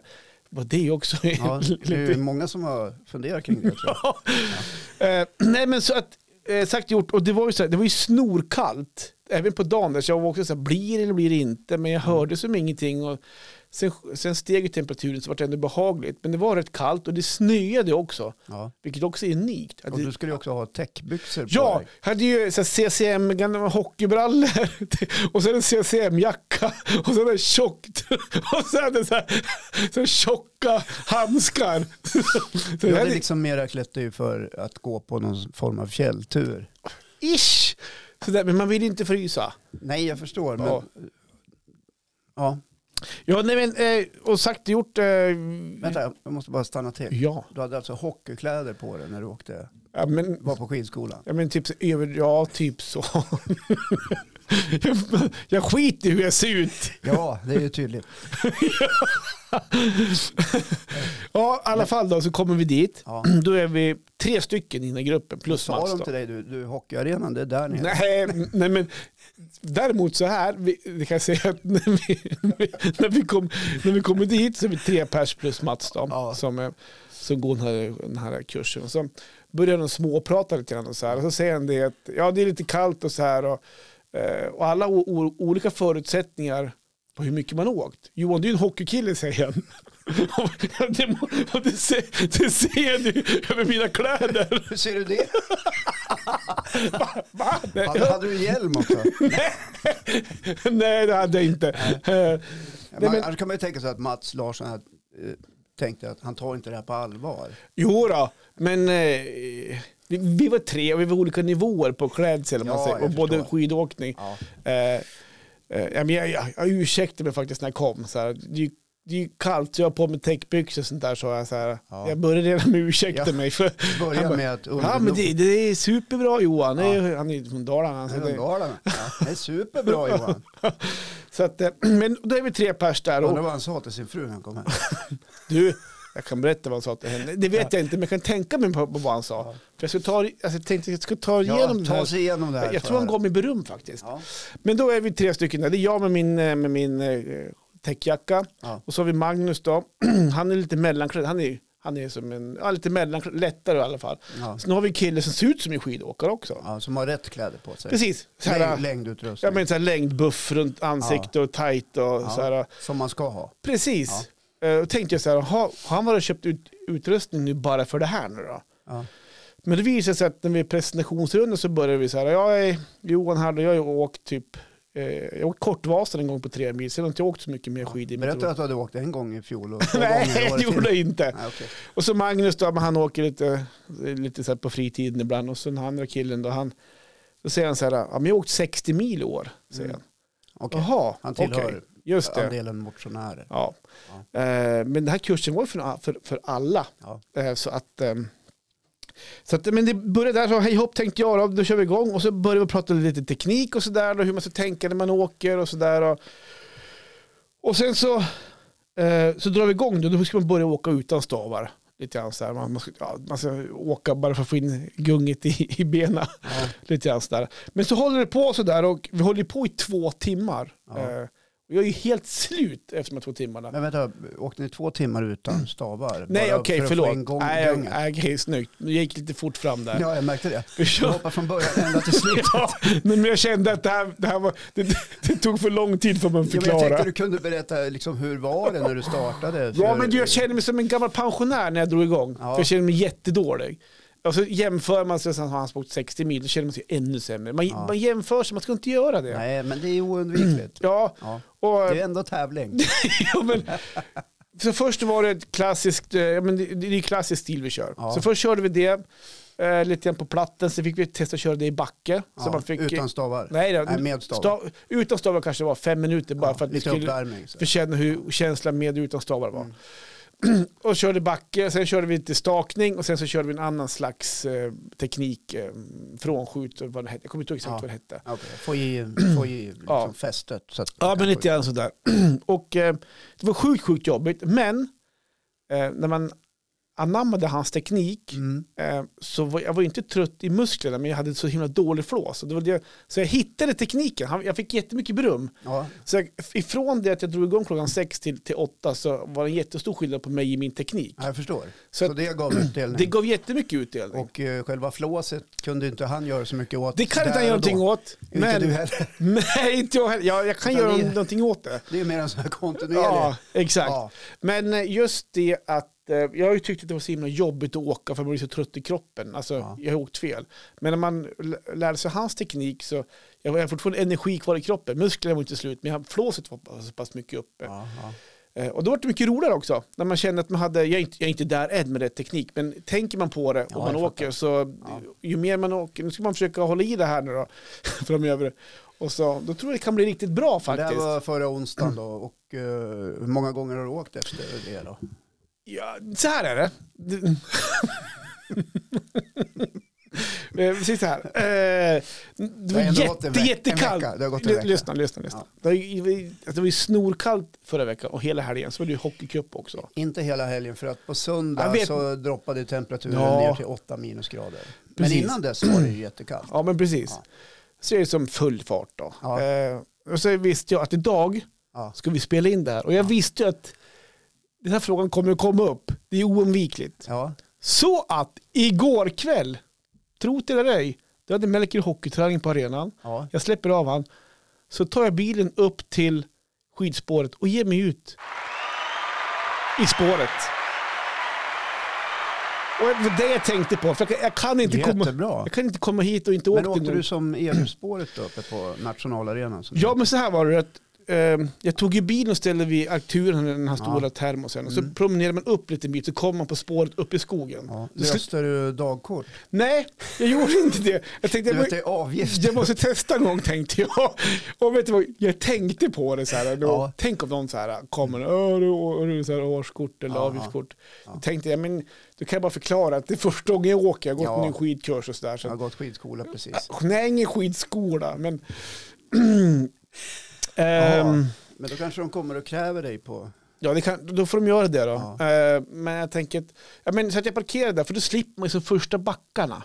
S2: Vad Det är ju också
S1: ja. ja, det är ju många som har funderat kring det. Tror jag.
S2: Eh, nej men så att, eh, sagt gjort, och det var ju så här, det var ju snorkallt. Även på dagen där, så jag var också så här, blir det eller blir det inte? Men jag hörde som ingenting. Och sen, sen steg ju temperaturen så var det ändå behagligt. Men det var rätt kallt och det snöade också,
S1: Ja.
S2: vilket också är unikt. Att
S1: Och
S2: det-
S1: du skulle ju också ha täckbyxor på
S2: Ja,
S1: dig.
S2: jag hade ju så här CCM, gamla hockeybrallor och sen en CCM-jacka och sen en tjock, och sen en så här, så här tjocka handskar. Så
S1: Du
S2: jag
S1: hade
S2: hade-
S1: liksom mera klätt dig för att gå på någon form av fjälltur.
S2: ish. Så där, men man vill inte frysa.
S1: Nej, jag förstår. Men,
S2: Ja.
S1: ja.
S2: Ja, nej men, eh, och sagt och gjort. Eh,
S1: Vänta, jag måste bara stanna till.
S2: Ja.
S1: Du hade alltså hockeykläder på dig när du åkte,
S2: ja, men
S1: var på skidskolan?
S2: Ja men typ, så- över- ja, typ så. jag, jag skiter i hur jag ser ut.
S1: Ja, det är ju tydligt.
S2: Ja, i alla fall då så kommer vi dit.
S1: Ja.
S2: Då är vi tre stycken i den här gruppen plus
S1: Sa
S2: Mats
S1: de
S2: då.
S1: till dig, du, du hockeyarenan, det är där nere.
S2: Nej, m- nej, men däremot så här, vi, vi kan säga att när vi, när, vi kom, när vi kommer dit så är vi tre pers plus Mats då,
S1: Ja.
S2: som, eh, som går den här, den här kursen. Och så börjar de småprata lite grann och så här, och så säger han det att ja, det är lite kallt och så här och, eh, och alla o, o, olika förutsättningar på hur mycket man har åkt. Johan, du är ju en hockeykille säger han. Och det, må- och det, ser, det ser du över mina kläder.
S1: Hur ser du det?
S2: Va?
S1: Hade, hade du hjälm också?
S2: Nej, det hade jag inte. Eh,
S1: man,
S2: men-
S1: Annars kan man ju tänka sig att Mats Larsson här, eh, tänkte att han tar inte det här på allvar.
S2: Jo då, men eh, vi, vi var tre och vi var olika nivåer på klädsel. om man
S1: Ja,
S2: säger,
S1: jag
S2: och både
S1: förstår.
S2: skidåkning.
S1: Ja.
S2: Eh, eh, ja, men jag, jag, jag ursäktade mig faktiskt när jag kom. Så här, det, är ju- det är ju kallt, så jag har på mig täckbyxor och sånt där. Så jag, så här,
S1: Ja.
S2: jag började redan med ursäkta
S1: Ja.
S2: mig. För,
S1: Börja
S2: Han bara,
S1: med att
S2: ja, men det, det är superbra Johan. Det är, han är ju från Dalarna. Så,
S1: Han är
S2: det,
S1: från Dalarna. Ja, det är superbra Johan.
S2: så att, eh, men då är vi tre pers där. Och,
S1: Undrar vad han sa till sin fru när han kom hem.
S2: Du, jag kan berätta vad han sa till henne. Det vet jag inte, men jag kan tänka mig på, på vad han sa. För jag, ska ta, alltså, jag tänkte jag ska ta igenom
S1: Ja,
S2: det här.
S1: ta sig igenom det här.
S2: jag
S1: sa
S2: tror han
S1: jag.
S2: gav mig beröm faktiskt.
S1: Ja.
S2: Men då är vi tre stycken där. Det är jag med min, eh, med min eh, täckjacka.
S1: Ja.
S2: Och så har vi Magnus då. Han är lite mellanklädd. Han är, han är som en, ja, lite mellanklädd, lättare i alla fall.
S1: Ja.
S2: Sen har vi en kille som ser ut som en skidåkare också.
S1: Ja, som har rätt kläder på sig.
S2: Precis. Så här,
S1: Längd,
S2: ja,
S1: längdutrustning.
S2: men så här längdbuff runt ansikte och tajt och så här. äh,
S1: Som man ska ha.
S2: Precis. Eh, Och tänkte jag så här, har han varit och köpt ut, utrustning nu bara för det här nu då?
S1: Ja.
S2: Men det visade sig att när vi i presentationsrundan så började vi så här, jag är Johan här och jag har ju åkt typ, eh, jag har åkt Kortvasan en gång på tre mil, sen har jag inte åkt så mycket mer skidor. i mitt
S1: Berätta
S2: liv.
S1: att du hade åkt en gång i fjol och två
S2: Nej,
S1: gånger
S2: det gjorde
S1: jag
S2: jag inte.
S1: Nej, okej.
S2: Och så Magnus då, men han åker lite, lite så här på fritiden ibland. Och så den andra killen då, han, då säger han så här, ja men jag har åkt 60 mil i år, säger han.
S1: Mm, Okej.
S2: Jaha,
S1: Han tillhör
S2: okej. Just det.
S1: Andelen motionärer.
S2: Ja. Eh, Men den här kursen var ju för, för, för alla.
S1: Ja.
S2: Eh, Så att, ehm, så att, men det började där, så hej hopp tänkte jag, då, då kör vi igång. Och så började vi prata lite teknik och sådär, och hur man ska tänka när man åker och sådär. Och, och sen så, eh, så drar vi igång, då, då ska man börja åka utan stavar. Lite grann så här. Man, man, ska, ja, man ska åka bara för att få in gunget i, i benen. Lite grann så där. Men så håller det på så där och vi håller på i två timmar.
S1: Ja.
S2: Eh, och jag är ju helt slut efter de här två timmarna.
S1: Men vänta, åkte ni två timmar utan stavar?
S2: Mm. Nej,
S1: Bara
S2: okej,
S1: för att Få
S2: förlåt.
S1: en gång
S2: Nej,
S1: i
S2: jag-
S1: gången?
S2: nej, okej, snyggt. Jag gick lite fort fram där.
S1: Ja, jag märkte det.
S2: Vi
S1: Jag
S2: kör.
S1: hoppar från början ända till slut.
S2: Ja, men jag kände att det här, det här var, det, det tog för lång tid för mig att
S1: Ja, men jag
S2: förklara.
S1: tänkte du kunde berätta liksom, hur var det när du startade.
S2: Ja,
S1: För-
S2: men du, jag känner mig som en gammal pensionär när jag drog igång.
S1: Ja.
S2: För jag känner mig jättedålig. Och så jämför man sig, sen har han åkt 60 mil, då känner man sig ännu sämre. Man,
S1: Ja.
S2: man jämför sig, man ska inte göra det.
S1: Nej, men det är oundvikligt.
S2: Ja,
S1: Ja.
S2: och,
S1: Det är ändå tävling.
S2: ja, men, så först var det ett klassiskt, eh, ja, men det, det är klassisk stil vi kör.
S1: Ja.
S2: Så först körde vi det, eh, lite grann på platten, sen fick vi testa att köra det i backe. så
S1: Ja,
S2: man fick,
S1: utan stavar.
S2: Nej, då,
S1: Nej, med stavar.
S2: Stav, utan stavar kanske det var fem minuter bara för att vi
S1: Lite
S2: skulle
S1: uppvärmning. så.
S2: förtjäna hur känslan med och utan stavar var.
S1: Mm.
S2: och körde backe, sen körde vi lite stakning och sen så körde vi en annan slags eh, teknik, eh, frånskjut, och vad det hette. jag kommer inte ihåg exakt
S1: Ja.
S2: vad det hette.
S1: Okej, Få i, få i liksom
S2: Ja.
S1: fästet. Så att
S2: Ja, men lite grann sådär. Och eh, det var sjukt, sjukt jobbigt. Men eh, när man anammade hans teknik
S1: Mm.
S2: eh, så var jag var ju inte trött i musklerna, men jag hade så himla dålig flås. Och Det var det, så jag hittade tekniken. Han, jag fick jättemycket beröm.
S1: Ja,
S2: Så jag, ifrån det att jag drog igång klockan sex till, till åtta så var det en jättestor skillnad på mig i min teknik.
S1: jag förstår.
S2: Så
S1: Så,
S2: att-
S1: det gav utdelning.
S2: Det gav jättemycket utdelning.
S1: och eh, själva flåset kunde inte han göra så mycket åt.
S2: det kan inte
S1: där
S2: han göra
S1: och då.
S2: någonting åt.
S1: Inte du heller.
S2: nej, inte jag heller. Jag, jag kan
S1: Utan
S2: göra
S1: det-
S2: någonting åt det.
S1: Det är mer en sån här kontinuerlig.
S2: Ja, exakt.
S1: Ja.
S2: Men eh, just det att eh, jag har ju tyckt att det var så himla jobbigt att åka för man blir så trött i kroppen. Alltså,
S1: Ja.
S2: jag har åkt fel. Men när man l- lärde sig hans teknik så jag har fortfarande energi kvar i kroppen. Musklerna var inte slut, men flåset var bara så pass mycket uppe.
S1: Ja, ja.
S2: Eh, Och då var det mycket roligare också. När man kände att man hade, jag är inte, jag är inte där än med rätt teknik, men tänker man på det och
S1: Ja,
S2: man
S1: jag
S2: åker så ju mer man åker, nu ska man försöka hålla i det här nu då, framöver. Och så, då tror jag det kan bli riktigt bra
S1: Det här
S2: faktiskt.
S1: var förra onsdagen då och eh, hur många gånger har du åkt efter det då?
S2: Ja, så här är det. Du- Eh, Precis så här. Eh, Det var
S1: har ändå gått en
S2: jätte,
S1: veck-
S2: jättekallt.
S1: en vecka. Det har gått en
S2: Ly-
S1: vecka.
S2: Lyssna, lyssna, lyssna. Det, var ju, det var ju snorkallt förra veckan och hela helgen. Så var det ju hockeycup också.
S1: Inte hela helgen för att på
S2: Jag
S1: söndag
S2: vet-
S1: så droppade temperaturen
S2: Ja.
S1: ner till 8 minusgrader. Men
S2: Precis.
S1: innan dess var det ju jättekallt.
S2: Ja, men precis.
S1: Ja.
S2: Så är det som full fart då.
S1: Ja.
S2: Eh, Och så visste jag att idag
S1: Ja.
S2: ska vi spela in det här. Och jag visste ju att den här frågan kommer att komma upp. Det är oundvikligt.
S1: Ja.
S2: Så att igår kväll, tro det eller ej, då hade Melker hockeyträning på arenan.
S1: Ja.
S2: Jag släpper av han. Så tar jag bilen upp till skidspåret och ger mig ut i spåret. Och det var det jag tänkte på. För jag, kan- jag, kan inte komma,
S1: Jättebra.
S2: jag kan inte komma hit och inte åka
S1: Men
S2: till
S1: åkte
S2: någon-
S1: du som EU-spåret då uppe på nationalarenan? som det
S2: Ja,
S1: heter?
S2: men så här var det. Att, ehm, jag tog ju bilen och ställde vid Arturen, den här stora termosen. Och så promenerade man upp lite bit, så kom man på spåret upp i skogen.
S1: Mm. Ja.
S2: Så-
S1: Löste du dagkort?
S2: Nej, jag gjorde inte det. Jag tänkte,
S1: Du
S2: jag,
S1: vet, det
S2: må,
S1: är avgift.
S2: jag måste testa en gång tänkte jag. Och vet du vad, jag tänkte på det så här. Då,
S1: Ja.
S2: Tänk om någon så här kommer, "Åh, du- åh, du så här årskort eller
S1: Ja,
S2: avgiftskort. Då tänkte jag, men du kan jag bara förklara att det är första gången jag åker, jag har gått
S1: Ja.
S2: ja. en skidkurs och så där. Så
S1: Jag har
S2: att,
S1: gått skidskola precis.
S2: nej, ingen skidskola, men...
S1: Ja.
S2: Ehm,
S1: Men då kanske de kommer och kräver dig på...
S2: Ja, det kan, då får de göra det då. Eh, men jag tänker att, ja, men så att jag parkerar där, för då slipper man ju så första backarna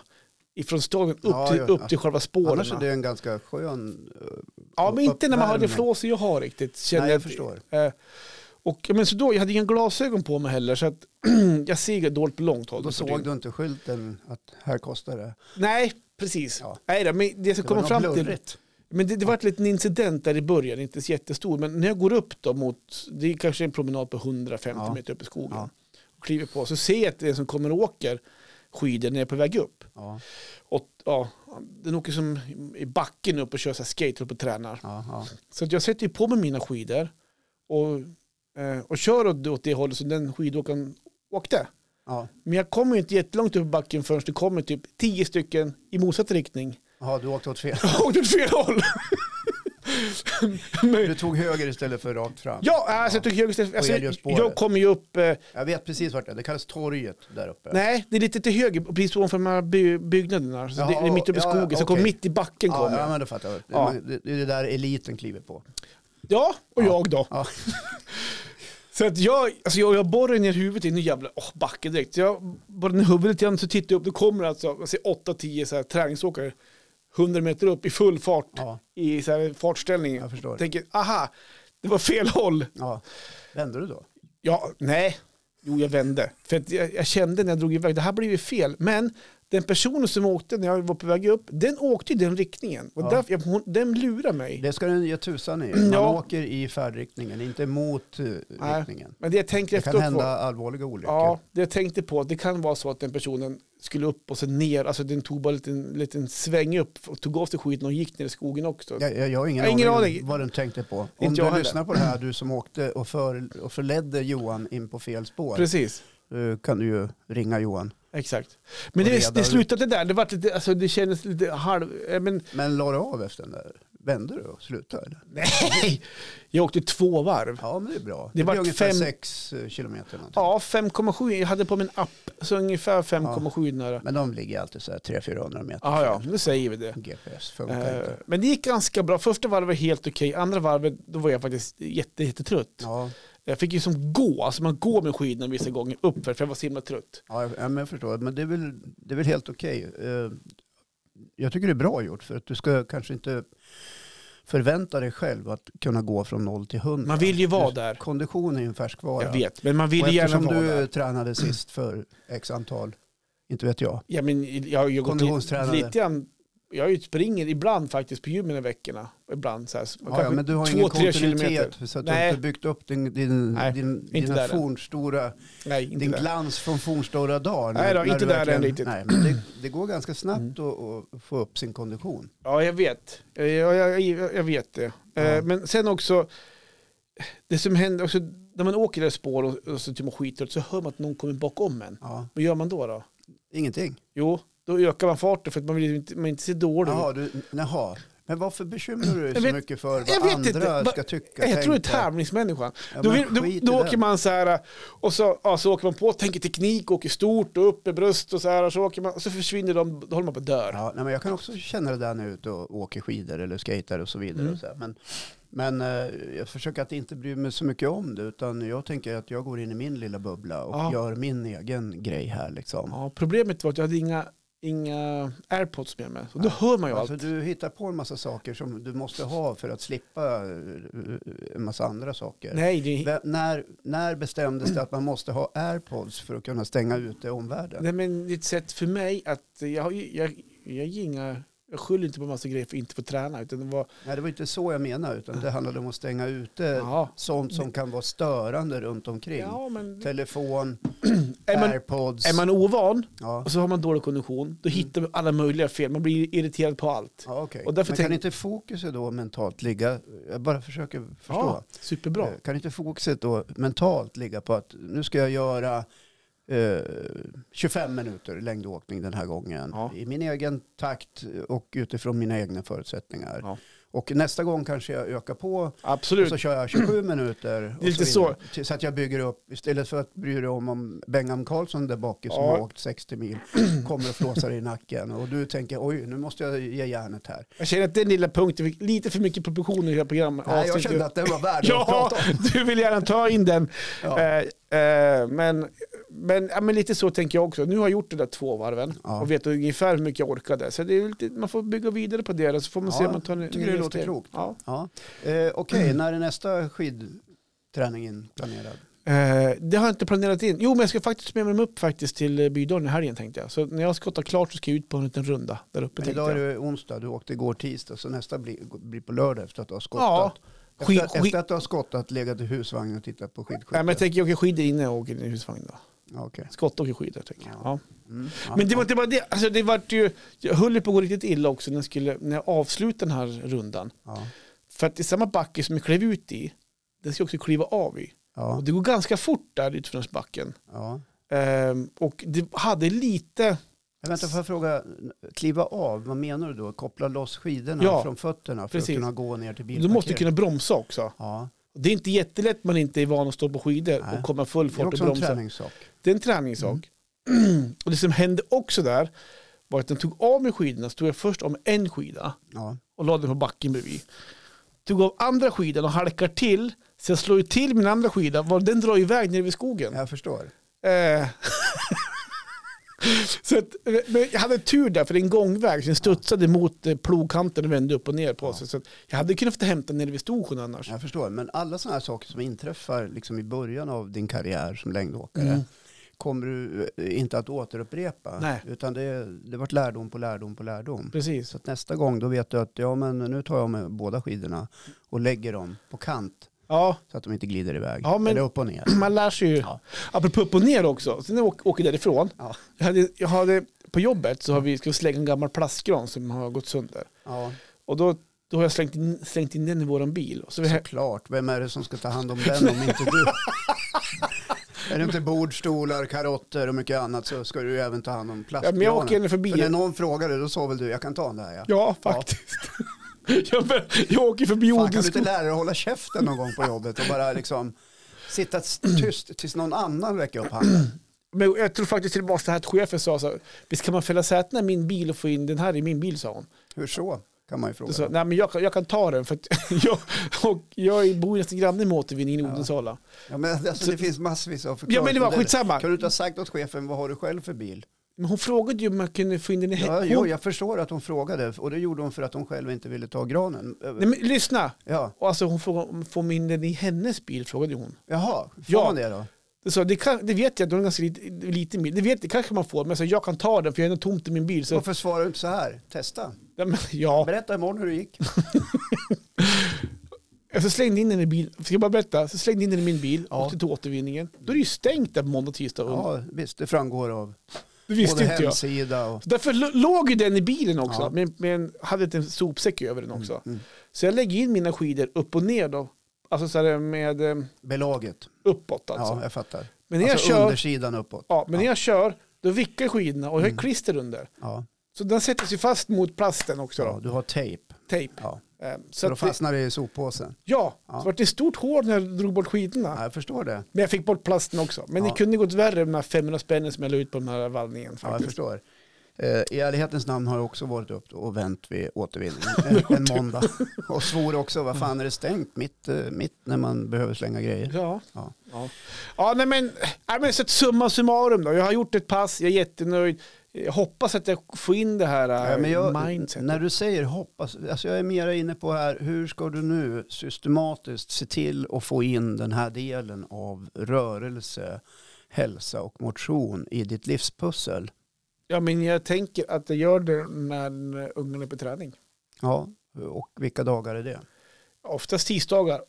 S2: ifrån stågen upp,
S1: Ja,
S2: till,
S1: ja,
S2: upp
S1: ja.
S2: till själva spåren.
S1: Annars är det en ganska skön... eh,
S2: Ja, men inte när man har det
S1: uppvärmning.
S2: flås jag har riktigt. känner
S1: Nej, jag
S2: att-
S1: förstår.
S2: Eh, och, ja, men så då, jag hade inga glasögon på mig heller, så att jag ser ju dåligt på långt håll.
S1: Då
S2: nu för tiden.
S1: såg du inte skylten att här kostar det.
S2: Nej, precis.
S1: Ja.
S2: Nej, då, men det jag ska
S1: Det
S2: komma
S1: var
S2: fram
S1: något
S2: till,
S1: blurrigt.
S2: men det, det var en liten incident där i början, inte så jättestor, men när jag går upp då mot, det är kanske en promenad på 150
S1: Ja.
S2: meter upp i skogen,
S1: Ja.
S2: och kliver på, så ser jag att den som kommer och åker skidor när jag är på väg upp.
S1: Ja,
S2: Och, ja, den åker som i backen upp och kör så här skate upp och tränar.
S1: ja, ja.
S2: Så att jag sätter ju på mig mina skidor och, eh, och kör åt, åt det hållet som den skidåkaren åkte.
S1: ja.
S2: Men jag kommer ju inte jättelångt upp i backen förrän det kommer typ tio stycken i motsatt riktning.
S1: Jaha, du åkte åt fel.
S2: Jag åkte åt fel håll. Men,
S1: Du tog höger istället för rakt fram.
S2: ja, alltså, jag, tycker jag, alltså,
S1: elljusspåret.
S2: jag kommer ju upp... Eh,
S1: Jag vet precis vart det är. Det kallas torget där uppe.
S2: nej, det är lite till höger, precis ovanför de här by, byggnaderna. Så det, det är mitt uppe i
S1: Ja,
S2: skogen, så jag kommer
S1: okej.
S2: mitt i backen.
S1: ja,
S2: kommer.
S1: ja,
S2: jag.
S1: men då fattar jag.
S2: Ja.
S1: Det- Det det är det där eliten kliver på.
S2: ja, och
S1: Ja.
S2: jag då.
S1: Ja.
S2: Så att jag, alltså jag, jag borrar ner huvudet i en jävla oh, backe direkt. Så jag borrar ner huvudet igen så tittar jag upp. Då kommer alltså jag ser 8-10 så här träningsåkare 100 meter upp i full fart
S1: Ja.
S2: i så här fartställning.
S1: Jag förstår.
S2: Tänker, aha, det var fel håll.
S1: ja. Vände du då?
S2: Ja, nej. Jo, jag vände. För att jag, jag kände när jag drog iväg, det här blev ju fel. Men den personen som åkte när jag var på väg upp, den åkte i den riktningen. Och
S1: Ja.
S2: därför, jag, hon, den lurar mig.
S1: Det ska den ge tusan i. Man
S2: Ja.
S1: åker i färdriktningen, inte mot eh,
S2: Nej.
S1: riktningen.
S2: Men det jag tänker
S1: Det
S2: efter
S1: kan hända allvarliga olyckor.
S2: Ja, det jag tänkte på, det kan vara så att den personen skulle upp och sen ner, alltså den tog bara en liten, liten sväng upp och tog av sig skiten och gick ner i skogen också.
S1: Jag, jag, jag har ingen,
S2: Jag har ingen
S1: aning
S2: aning.
S1: om vad den tänkte på. Om
S2: Inte jag
S1: du
S2: heller.
S1: lyssnar på det här, du som åkte och, för, och förledde Johan in på fel spår,
S2: Precis,
S1: eh, kan du ju ringa Johan.
S2: exakt. Men
S1: Och
S2: det,
S1: reda
S2: det
S1: ut.
S2: slutade där, det, vart lite, alltså, det kändes lite halv... eh, Men,
S1: Men la du av efter den där? Vände du och slutade? Eller?
S2: nej! Jag åkte två varv.
S1: Ja, men det är bra.
S2: Det
S1: Det,
S2: vart
S1: blir ungefär
S2: fem-
S1: 6 kilometer. Någonting.
S2: Ja, 5,7. Jag hade på min app, så ungefär 5,7 nära.
S1: Men de ligger alltid så här 300-400 meter.
S2: Ja, ja, nu säger vi det.
S1: GPS funkar
S2: Eh,
S1: inte.
S2: Men det gick ganska bra. Första varvet var helt okej, andra varvet då var jag faktiskt jätte, jättetrött.
S1: Ja,
S2: Jag fick ju som gå, alltså man går med skidorna vissa gånger uppför för jag var så himla trött.
S1: ja, jag- ja, men jag förstår. Men det är väl, det är väl helt okej. Eh, Jag tycker det är bra gjort för att du ska kanske inte förvänta dig själv att kunna gå från 0 till 100.
S2: Man vill ju vara
S1: Just
S2: där.
S1: Kondition är ju en färskvara.
S2: Jag vet, men man
S1: Och
S2: vill ju gärna
S1: eftersom
S2: vara
S1: du
S2: där. Mm.
S1: tränade sist för x antal, inte vet jag.
S2: Ja, men jag har ju gått li-
S1: Konditionstränare.
S2: lite grann, jag ju springer ibland faktiskt på gymmen i veckorna. Ibland så här. så
S1: Ja,
S2: kanske
S1: ja, men du har
S2: två,
S1: ingen
S2: tre
S1: kontinuitet så att du har
S2: Nej.
S1: inte byggt upp din, din,
S2: Nej,
S1: din,
S2: inte
S1: dina
S2: där än.
S1: fornstora,
S2: Nej, inte
S1: din
S2: där.
S1: glans från fornstora dagar.
S2: Nej då,
S1: du
S2: inte där än
S1: verkligen-
S2: riktigt. Mm.
S1: Nej, men det, det går ganska snabbt att, att få upp sin kondition.
S2: Ja, jag vet. Jag, jag, jag, jag vet det. Eh,
S1: Ja.
S2: Men sen också, det som händer också, när man åker i det här spår och, och så typ man skiter så hör man att någon kommer bakom en.
S1: Ja.
S2: Vad gör man då då?
S1: Ingenting.
S2: Jo, då ökar man farten för att man vill ju inte, man inte se dålig ut.
S1: Jaha, du, jaha. Men varför bekymrar du dig
S2: Jag
S1: så
S2: vet-
S1: mycket för vad
S2: jag vet
S1: andra
S2: inte. Va-
S1: ska tycka?
S2: Jag tror det är
S1: tänka?
S2: tävlingsmänniskan.
S1: Ja,
S2: då
S1: men
S2: vill,
S1: skit i
S2: då, då
S1: det.
S2: åker man så här och så, ja, så åker man på, tänker teknik, åker stort och upp i bröst och så här och så åker man, och så försvinner de, då håller man på att dö.
S1: Ja, nej, men jag kan också känna det där när jag är ute och åker skidor eller skater och så vidare.
S2: Mm.
S1: Och så här. Men, men eh, jag försöker att inte bry mig så mycket om det, utan jag tänker att jag går in i min lilla bubbla och
S2: Ja.
S1: gör min egen grej här. Liksom.
S2: Ja, problemet var att jag hade inga, inga airpods med mig. Så då hör man ju allt.
S1: Alltså, du hittar på en massa saker som du måste ha för att slippa eh, en massa andra saker.
S2: Nej, det,
S1: Vem- När, när bestämdes det att man måste ha airpods för att kunna stänga ute omvärlden?
S2: nej, men det är ett sätt för mig att jag, har ju- jag, jag, ger inga, jag skyller inte på massa grejer för att inte få träna. Utan det var,
S1: Nej, det var inte så jag menade, utan det handlade om att stänga ute
S2: ja,
S1: sånt som kan vara störande runt omkring.
S2: ja, men,
S1: Telefon,
S2: är, man,
S1: airpods.
S2: är man ovan
S1: ja.
S2: och så har man dålig kondition, då hittar man alla möjliga fel. Man blir irriterad på allt.
S1: Ja, okay.
S2: och
S1: Men
S2: därför
S1: kan
S2: tänk-
S1: inte fokuset då mentalt ligga, jag bara försöker förstå.
S2: superbra.
S1: Eh, Kan inte fokuset då mentalt ligga på att nu ska jag göra eh, 25 minuter längdåkning den här gången
S2: Ja.
S1: i min egen takt och utifrån mina egna förutsättningar.
S2: Ja.
S1: Och nästa gång kanske jag ökar på och
S2: Absolut.
S1: så kör jag 27 minuter.
S2: Det är
S1: och
S2: lite
S1: vidare. Till- Så att jag bygger upp, istället för att bry dig om om Bengham Karlsson där bak som
S2: Ja.
S1: har åkt 60 mil kommer och flåsar i nacken och du tänker oj nu måste jag ge järnet här.
S2: Jag känner att den lilla punkten fick lite för mycket proportioner i hela programmet.
S1: Nej, jag
S2: Avsnittet.
S1: kände att det var värd att
S2: Ja,
S1: prata om.
S2: du vill gärna ta in den.
S1: Ja.
S2: Eh, eh, men, men, ja, men lite så tänker jag också. Nu har jag gjort de där två varven
S1: Ja.
S2: och vet ungefär hur mycket jag orkade. Så det är lite, man får bygga vidare på det och så får man se
S1: Ja,
S2: om man tar
S1: tycker det
S2: nya
S1: låter
S2: steg.
S1: klokt.
S2: Ja.
S1: Ja. Eh, Okej, när är nästa skidträning inplanerad?
S2: Eh, det har jag inte planerat in. Jo, men jag ska faktiskt med mig upp faktiskt till eh, Bydalen i helgen tänkte jag. Så när jag skottar klart så ska jag ut på en liten runda där uppe.
S1: Men
S2: tänkte
S1: idag är
S2: jag.
S1: det onsdag, du åkte igår tisdag så nästa blir, blir på lördag efter att du har skottat.
S2: Ja. Skid-
S1: Efter,
S2: skid-
S1: efter att du har skottat, legat i husvagn och tittat på skidskytte.
S2: Nej, men jag tänker jag åker skidor innan jag åker in i husvagnen. då.
S1: Ja, okej.
S2: Skott åker skidor tänker jag. Ja.
S1: Mm, ja.
S2: Men det var inte bara det. Alltså, det vart ju, jag höll ju på att gå riktigt illa också när jag, skulle, när jag avslutade den här rundan.
S1: Ja.
S2: För att det är samma backe som jag klev ut i, den ska jag också kliva av i.
S1: Ja.
S2: Och det går ganska fort där utförsbacken.
S1: Ja.
S2: Ehm, och det hade lite,
S1: Men vänta, får jag fråga, kliva av, vad menar du då? Koppla loss skidorna
S2: Ja,
S1: från fötterna för
S2: precis.
S1: att kunna gå ner till
S2: du
S1: bilparkeringen?
S2: måste kunna bromsa också.
S1: Ja,
S2: Det är inte jättelätt man inte är van att stå på skidor
S1: Nej.
S2: och komma full
S1: det är
S2: fart och
S1: också en Mm.
S2: bromsa.
S1: träningssak.
S2: Det är en träningssak. och det som hände också där var att den tog av mig skidorna, stod jag först om en skida.
S1: Ja.
S2: och la den på backen bredvid. Tog av andra skidan och halkar till. Så jag slår ju till min andra skida. Var- Den drar iväg ner vid skogen.
S1: Jag förstår.
S2: Eh. så att, eh, men jag hade tur där för det är en gångväg. Så den studsade mot eh, plogkanten och vände upp och ner på sig. Så att jag hade kunnat få hämta nere vid Storsjön annars.
S1: Jag förstår. Men alla sådana här saker som inträffar liksom i början av din karriär som längdåkare
S2: Mm.
S1: kommer du eh, inte att återupprepa.
S2: Nej.
S1: Utan det, det har varit lärdom på lärdom på lärdom.
S2: Precis.
S1: Så att nästa gång då vet du att ja, men nu tar jag med båda skidorna och lägger dem på kant
S2: Ja,
S1: så att de inte glider iväg.
S2: Ja, men-
S1: Eller upp och ner.
S2: man lär sig ju.
S1: Ja.
S2: Apropå upp och ner också. Så när jag åk- åker därifrån.
S1: Ja.
S2: Jag hade, jag hade, på jobbet så har vi, ska vi slänga en gammal plastgran som har gått sönder.
S1: Ja,
S2: Och då, då har jag slängt in, slängt in den i våran bil. Och så vi,
S1: såklart. Vem är det som ska ta hand om den om inte du? är det inte bord, stolar, karotter och mycket annat så ska du ju även ta hand om
S2: ja, men
S1: plastgranen.
S2: jag åker ändå
S1: För när
S2: förbi.
S1: någon frågade då sa väl du, jag kan ta den där ja.
S2: Ja, faktiskt. jag, men- jag åker förbi
S1: Fan, kan du inte
S2: Odinskogen.
S1: lära dig att hålla käften någon gång på jobbet och bara liksom sitta tyst tills någon annan räcker upp handen?
S2: Men jag tror faktiskt till och med så här att chefen sa så här, visst kan man fälla sätena i min bil och få in den här i min bil, sa hon.
S1: Hur så? Kan man ju
S2: Då
S1: fråga.
S2: sa, jag, Nej, men jag, kan- jag kan ta den för att jag, och jag bor nästan granne med återvinningen i Odensala.
S1: Ja, men alltså, det finns massvis av förklaringar.
S2: Ja, men det var
S1: till
S2: skitsamma.
S1: Kan du inte ha sagt åt chefen, vad har du själv för bil?
S2: Men hon frågade ju om jag kunde få in den i he-
S1: Ja,
S2: Eh, hon-
S1: jo, jag förstår att hon frågade och det gjorde hon för att hon själv inte ville ta granen.
S2: Nej, men lyssna.
S1: Ja,
S2: Och alltså, hon frågade om får man in den i hennes bil, frågade hon.
S1: jaha, får
S2: Ja.
S1: man det då?
S2: Det, sa, det, kan, det vet jag, det är en ganska liten, liten bil. Det, vet, det kanske man får, men så, jag kan ta den för jag har ändå tomt i min bil. Så,
S1: Varför svarar du inte så här? Testa.
S2: ja, men, ja.
S1: Berätta imorgon hur det gick.
S2: Så slängde in den i bil, ska jag bara berätta? Så slängde in den i min bil,
S1: Ja.
S2: åkte till återvinningen. Då är det ju stängt där på måndag, tisdag. och-
S1: Ja, visst, det framgår av
S2: det visste
S1: både
S2: inte jag.
S1: hemsida och...
S2: Så därför lo- låg ju den i bilen också,
S1: Ja.
S2: men, men hade inte en sopsäck över den också.
S1: mm.
S2: Så jag lägger in mina skidor upp och ner då. Alltså så här med eh,
S1: Belaget.
S2: uppåt alltså.
S1: Ja, jag fattar.
S2: Men när jag
S1: alltså
S2: kör,
S1: undersidan uppåt. Mm.
S2: ja, men när jag kör, då vickar skidorna och jag har klister under.
S1: Ja.
S2: Så den sätter sig fast mot plasten också. Då,
S1: Ja, du har tejp.
S2: Tejp.
S1: Ja.
S2: Eh,
S1: Så
S2: Så
S1: då
S2: att det,
S1: fastnar det i soppåsen.
S2: ja,
S1: Ja.
S2: så vart det ett stort hål när jag drog bort skidorna.
S1: Ja, jag förstår det.
S2: Men jag fick bort plasten också. Men
S1: Ja.
S2: det kunde gått värre med de här 500 spännen som jag la ut på den här vallningen.
S1: Ja, jag
S2: Faktiskt.
S1: förstår. Eh, I ärlighetens namn har jag också varit upp och vänt vid återvinning en, en måndag. Och svor också, vad fan är det stängt mitt, eh, mitt när man behöver slänga grejer?
S2: Ja.
S1: Ja.
S2: Ja. ja, nej men, nej men så att summa summarum då. Jag har gjort ett pass, jag är jättenöjd. Jag hoppas att jag får in det här
S1: Ja, men jag,
S2: mindsetet.
S1: när du säger hoppas, alltså jag är mera inne på här, hur ska du nu systematiskt se till att få in den här delen av rörelse, hälsa och motion i ditt livspussel?
S2: Ja, men jag tänker att jag gör det när ungarna är på träning.
S1: Ja, och vilka dagar är det?
S2: Oftast tisdagar,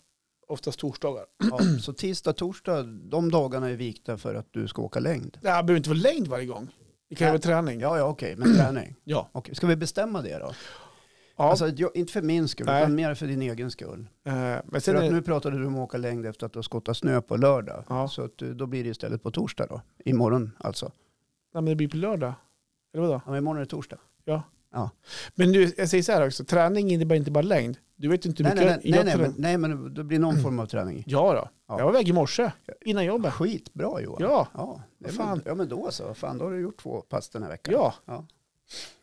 S2: oftast torsdagar.
S1: Ja, så tisdag, torsdag, de dagarna är vikta för att du ska åka längd.
S2: Det här behöver inte vara längd varje gång. Det kan ju
S1: Nej.
S2: vara träning.
S1: Ja, ja, okej, men träning.
S2: Ja.
S1: Okej, ska vi bestämma det då?
S2: ja.
S1: Alltså, jag, inte för min skull,
S2: Nej.
S1: utan mer för din egen skull.
S2: eh, men
S1: För
S2: sen
S1: att
S2: är,
S1: nu pratade du om att åka längd efter att du har skottat snö på lördag.
S2: Ja.
S1: Så att, du- då blir det istället på torsdag då. Imorgon alltså.
S2: nej, men det blir på lördag. Eller vadå?
S1: Ja, men imorgon är det torsdag.
S2: Ja.
S1: Ja.
S2: Men du, jag säger så här också, träning innebär inte bara längd. Du vet inte hur
S1: Nej, nej,
S2: mycket
S1: nej, nej,
S2: jag Mm.
S1: nej,
S2: tränar.
S1: men, nej, men det blir någon form av träning.
S2: Ja då.
S1: Ja.
S2: Jag var iväg i morse, innan jobbet.
S1: Skitbra Johan.
S2: Ja,
S1: Ja, det är
S2: Fan.
S1: väl, ja, men då så. Fan, då har du gjort två pass den här veckan.
S2: ja,
S1: Ja,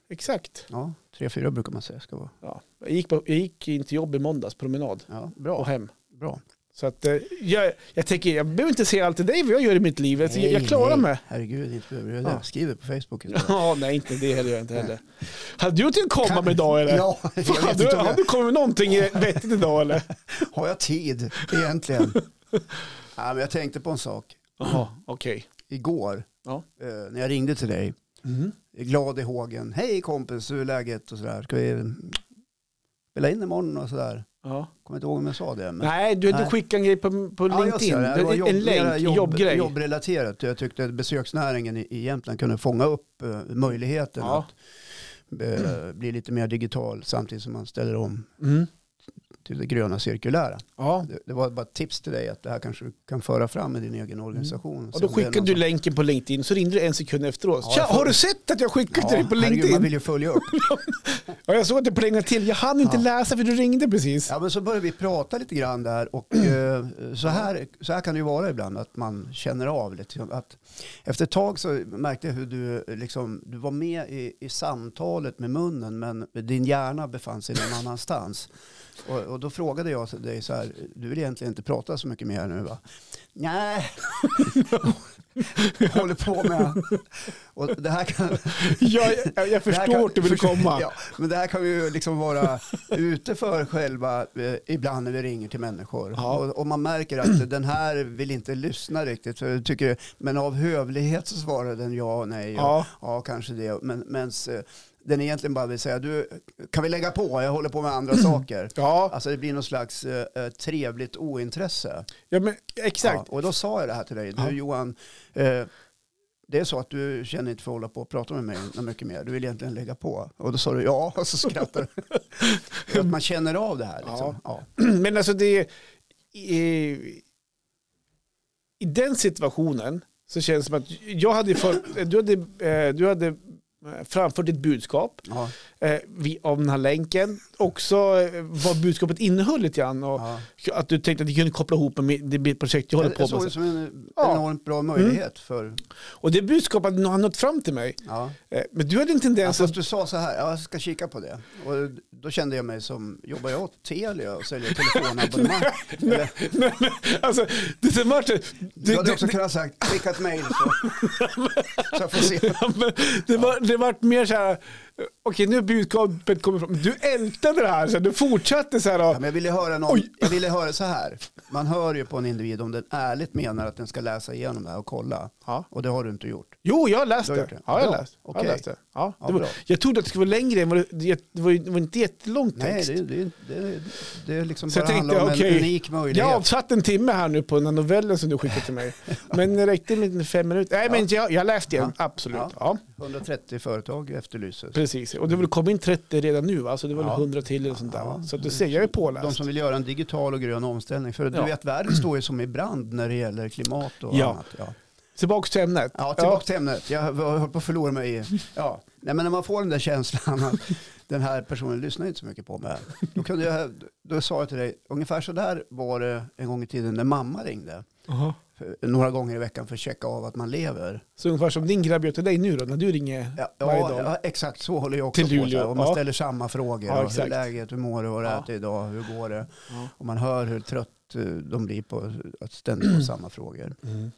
S2: exakt.
S1: ja tre, fyra brukar man säga ska vara.
S2: Ja. Jag, gick på, jag gick in till jobb i måndags, promenad,
S1: Ja,
S2: och
S1: bra.
S2: hem.
S1: bra.
S2: Så att, eh, jag, jag tänker, jag behöver inte säga allt till dig vad jag gör i mitt liv. Jag,
S1: Nej,
S2: jag klarar
S1: nej.
S2: mig.
S1: Herregud, inte behöver jag
S2: Ja.
S1: det. Skriv det på Facebook istället.
S2: Ja, nej, inte det heller. gör Jag inte heller. Hade du tänkt komma med idag eller?
S1: Ja, jag
S2: Fan,
S1: vet
S2: du,
S1: inte om
S2: har
S1: jag,
S2: du kommit med någonting vettigt idag eller?
S1: har jag tid egentligen? ja, men jag tänkte på en sak.
S2: Jaha, okej.
S1: Igår,
S2: Ja.
S1: eh, när jag ringde till dig, Mm. glad i hågen. Hej kompis, hur är läget och sådär. Ska vi mm, spela in imorgon och sådär.
S2: Ja.
S1: Kommer inte ihåg om jag sa det. Men...
S2: Nej, du, du
S1: Nej.
S2: skickade en grej på, på
S1: Ja, jag
S2: LinkedIn.
S1: ser det. Det var jobb-
S2: en
S1: mera
S2: länk,
S1: jobb-
S2: jobbgrej.
S1: Jobbrelaterat. Jag tyckte att besöksnäringen i, i Jämtland kunde fånga upp eh, möjligheten
S2: Ja.
S1: att eh, bli lite mer digital samtidigt som man ställer om
S2: Mm.
S1: till det gröna cirkulära.
S2: Ja.
S1: Det, det var bara ett tips till dig att det här kanske du kan föra fram i din egen organisation.
S2: Och Mm. då skickade du länken på LinkedIn, så ringde du en sekund efteråt.
S1: Ja,
S2: Tja,
S1: jag får-
S2: har du sett att jag skickade till dig på
S1: Herregud, man
S2: LinkedIn?
S1: vill ju följa upp.
S2: Ja, jag såg att det plingade till. Jag hann inte
S1: Ja.
S2: läsa för du ringde precis.
S1: Ja, men så började vi prata lite grann där och eh, så, här, så här kan det ju vara ibland att man känner av lite. Att efter ett tag så märkte jag hur du, liksom, du var med i, i samtalet med munnen men din hjärna befann sig någon annanstans. Och, och då frågade jag så- dig så här, du vill egentligen inte prata så mycket mer nu va? Nej, jag håller på med. Och det här kan,
S2: Jag, jag, jag
S1: det här
S2: förstår
S1: kan-
S2: vart du vill
S1: förstår-
S2: komma.
S1: Ja, men det här kan vi ju liksom vara ute för själva eh, ibland när vi ringer till människor.
S2: Ja.
S1: Och, och man märker att den här vill inte lyssna riktigt. Så jag tycker, men av hövlighet så svarar den ja och nej. Och,
S2: Ja.
S1: ja. kanske det. Men mens, eh, den egentligen bara vill säga, du, kan vi lägga på? Jag håller på med andra saker.
S2: Ja,
S1: Alltså det blir någon slags eh, eh, trevligt ointresse.
S2: ja men, exakt.
S1: Ja, och då sa jag det här till dig. Du
S2: Ja.
S1: Johan, eh, det är så att du känner inte för att hålla på och prata med mig något mycket mer. Du vill egentligen lägga på. Och då sa du ja och så skrattade du. att man känner av det här. Liksom. Ja.
S2: Men alltså det... I, I den situationen så känns det som att jag hade för, du hade, eh, du hade eh, framfört ditt budskap
S1: Ja.
S2: eh, vi- av den här länken. Också eh, vad budskapet innehöll lite grann. Och
S1: Ja.
S2: Att du tänkte att det kunde koppla ihop med mitt- det mitt projekt jag håller
S1: Jag,
S2: på
S1: jag
S2: med.
S1: såg det som en
S2: Ja. Mm.
S1: enormt bra möjlighet för...
S2: Och det budskapet hade nått fram till mig.
S1: Ja.
S2: Eh, Men du hade en tendens
S1: Alltså, du sa så här, ja, jag ska kika på det. Och då kände jag mig som, jobbar jag åt Telia och säljer telefonabonnemang? Eller,
S2: Nej, men, alltså, det är så Martin,
S1: du
S2: det,
S1: hade
S2: det,
S1: också kunnat sagt, skicka ett mejl så. så jag får se.
S2: ja, men det, var, det vart mer så här, eh, okej nu har budskapet kommit fram. Du ältade det här, så här, du fortsatte så här.
S1: Ja,
S2: Och,
S1: men jag ville höra någon,
S2: Oj.
S1: jag ville höra så här. Man hör ju på en individ om den ärligt menar att den ska läsa igenom det här och kolla.
S2: ja.
S1: Och det har du inte gjort.
S2: Jo, jag har läst
S1: Du har
S2: det.
S1: gjort det?
S2: Ja, jag har
S1: Bra.
S2: läst, jag har
S1: Okej.
S2: läst det. Ja,
S1: Ja,
S2: det var,
S1: bra.
S2: jag trodde att det skulle vara längre, än vad det, det, var, ju- det var inte jättelång
S1: Nej,
S2: text.
S1: det, det, det, det är liksom
S2: Så
S1: bara
S2: jag tänkte,
S1: handlar om en
S2: okej,
S1: unik möjlighet.
S2: jag har avsatt en timme här nu på den här novellen som du skickade till mig. Men det räckte med fem minuter. Nej, men jag, jag läste den, absolut.
S1: Ja.
S2: Ja.
S1: 130 företag efterlyses.
S2: Precis, och det har väl kommit in 30 redan nu va? Så det var väl
S1: Ja.
S2: 100 till eller sånt där va?
S1: Ja.
S2: Så att du ser, jag är
S1: De
S2: påläst.
S1: som vill göra en digital och grön omställning. För
S2: Ja.
S1: du vet, världen står ju som i brand när det gäller klimat och
S2: Ja.
S1: annat. Ja.
S2: Tillbaks till ämnet.
S1: Ja, tillbaka till ämnet. Jag höll på att förlora mig i... Ja. Nej, men när man får den där känslan att den här personen lyssnar inte så mycket på mig. Då, kunde jag, då sa jag till dig, ungefär så där var det en gång i tiden när mamma ringde.
S2: Jaha.
S1: För, några gånger i veckan för att checka av att man lever.
S2: Så ungefär som din grabb gör till dig nu då, när du ringer
S1: Ja,
S2: varje
S1: ja,
S2: dag.
S1: ja exakt så håller jag också
S2: Till
S1: på. så här.
S2: Luleå,
S1: Och man
S2: ja.
S1: ställer samma frågor.
S2: Ja,
S1: Ja, hur är
S2: exakt.
S1: läget? Hur mår du? Vad har du
S2: Ja.
S1: ätit idag? Hur går det?
S2: Ja.
S1: Och man hör hur trött eh, de blir på att ständigt få samma frågor.
S2: Mm.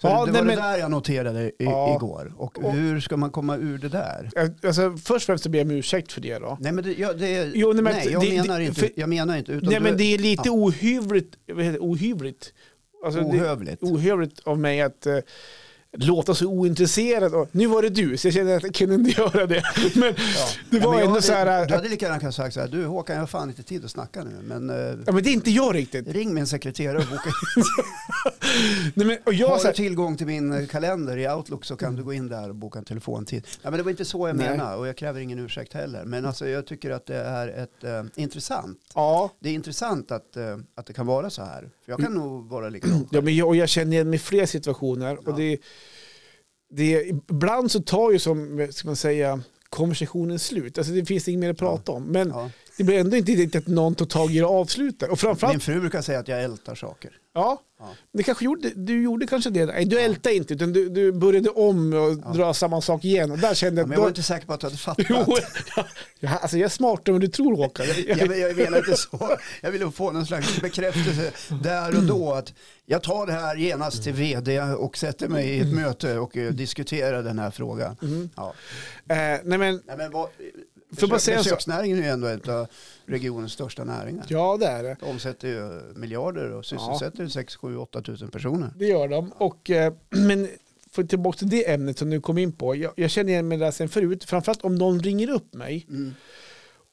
S1: Så
S2: Ja,
S1: det
S2: nej,
S1: var
S2: men-
S1: det där jag noterade i,
S2: Ja.
S1: igår. Och
S2: Och-
S1: hur ska man komma ur det där?
S2: Alltså, först och främst så ber jag om ursäkt för det då.
S1: Nej, men det, jag, det,
S2: Jo, nej,
S1: nej,
S2: men
S1: jag,
S2: det-
S1: menar
S2: det-
S1: inte,
S2: för-
S1: jag menar inte. Utan
S2: Nej,
S1: du
S2: men
S1: är
S2: det är lite
S1: ja.
S2: ohyvligt, vad heter det? ohyvligt. Alltså, det-
S1: ohövligt.
S2: ohövligt av mig att eh, låta så ointresserad. Och, nu var det du, så jag kände att jag kunde inte göra det. Men
S1: Ja.
S2: det
S1: Ja, men
S2: var
S1: jag
S2: ändå
S1: hade,
S2: så här... äh-
S1: Du
S2: Att,
S1: hade lika gärna kunnat sagt så här, du Håkan, jag har fan inte tid att snacka nu, men eh,
S2: ja, men det är inte jag riktigt.
S1: ring min sekreterare och boka
S2: Nej, men, och jag,
S1: Har
S2: så
S1: du
S2: här,
S1: tillgång till min eh, kalender i Outlook så kan du gå in där och boka en telefontid. Ja, men det var inte så jag
S2: Nej.
S1: menade och jag kräver ingen ursäkt heller. Men alltså, jag tycker att det är ett, eh, intressant.
S2: ja,
S1: Det är intressant att, eh, att det kan vara så här. För jag kan
S2: Mm.
S1: nog vara likadan.
S2: ja, men jag, och jag känner igen mig i fler situationer.
S1: Ja.
S2: Och det, det, ibland så tar ju som, ska man säga, konversationen slut. Alltså det finns inget mer att prata om. Men
S1: Ja.
S2: det blir ändå inte riktigt att någon tar tag i det och avslutar. Och framförallt,
S1: Min fru brukar säga att jag ältar saker.
S2: ja,
S1: Ja.
S2: det kanske gjorde, du gjorde kanske det. Nej, du ältade inte, utan du, du började om och dra samma sak igen. Och där kände
S1: Ja,
S2: jag
S1: men
S2: att
S1: jag var
S2: då-
S1: inte säker på att du hade fattat.
S2: Jo, ja, alltså jag är smartare än vad du tror Håkan.
S1: Jag, men jag menar inte så. Jag ville få någon slags bekräftelse där och då att jag tar det här genast till vd och sätter mig i ett
S2: Mm.
S1: möte och eh, diskuterar den här frågan. Ja.
S2: Eh, nej men,
S1: Nej, men vad,
S2: Mm. Får bara säga en sak?
S1: besöksnäringen är ju ändå en av regionens största näringar.
S2: ja det är det.
S1: De omsätter ju miljarder och sysselsätter 6, 7, 8 tusen personer.
S2: Det gör de. Och, eh, men för tillbaka till det ämnet som du kom in på. Jag, jag känner igen mig där sen förut. Framförallt om någon ringer upp mig.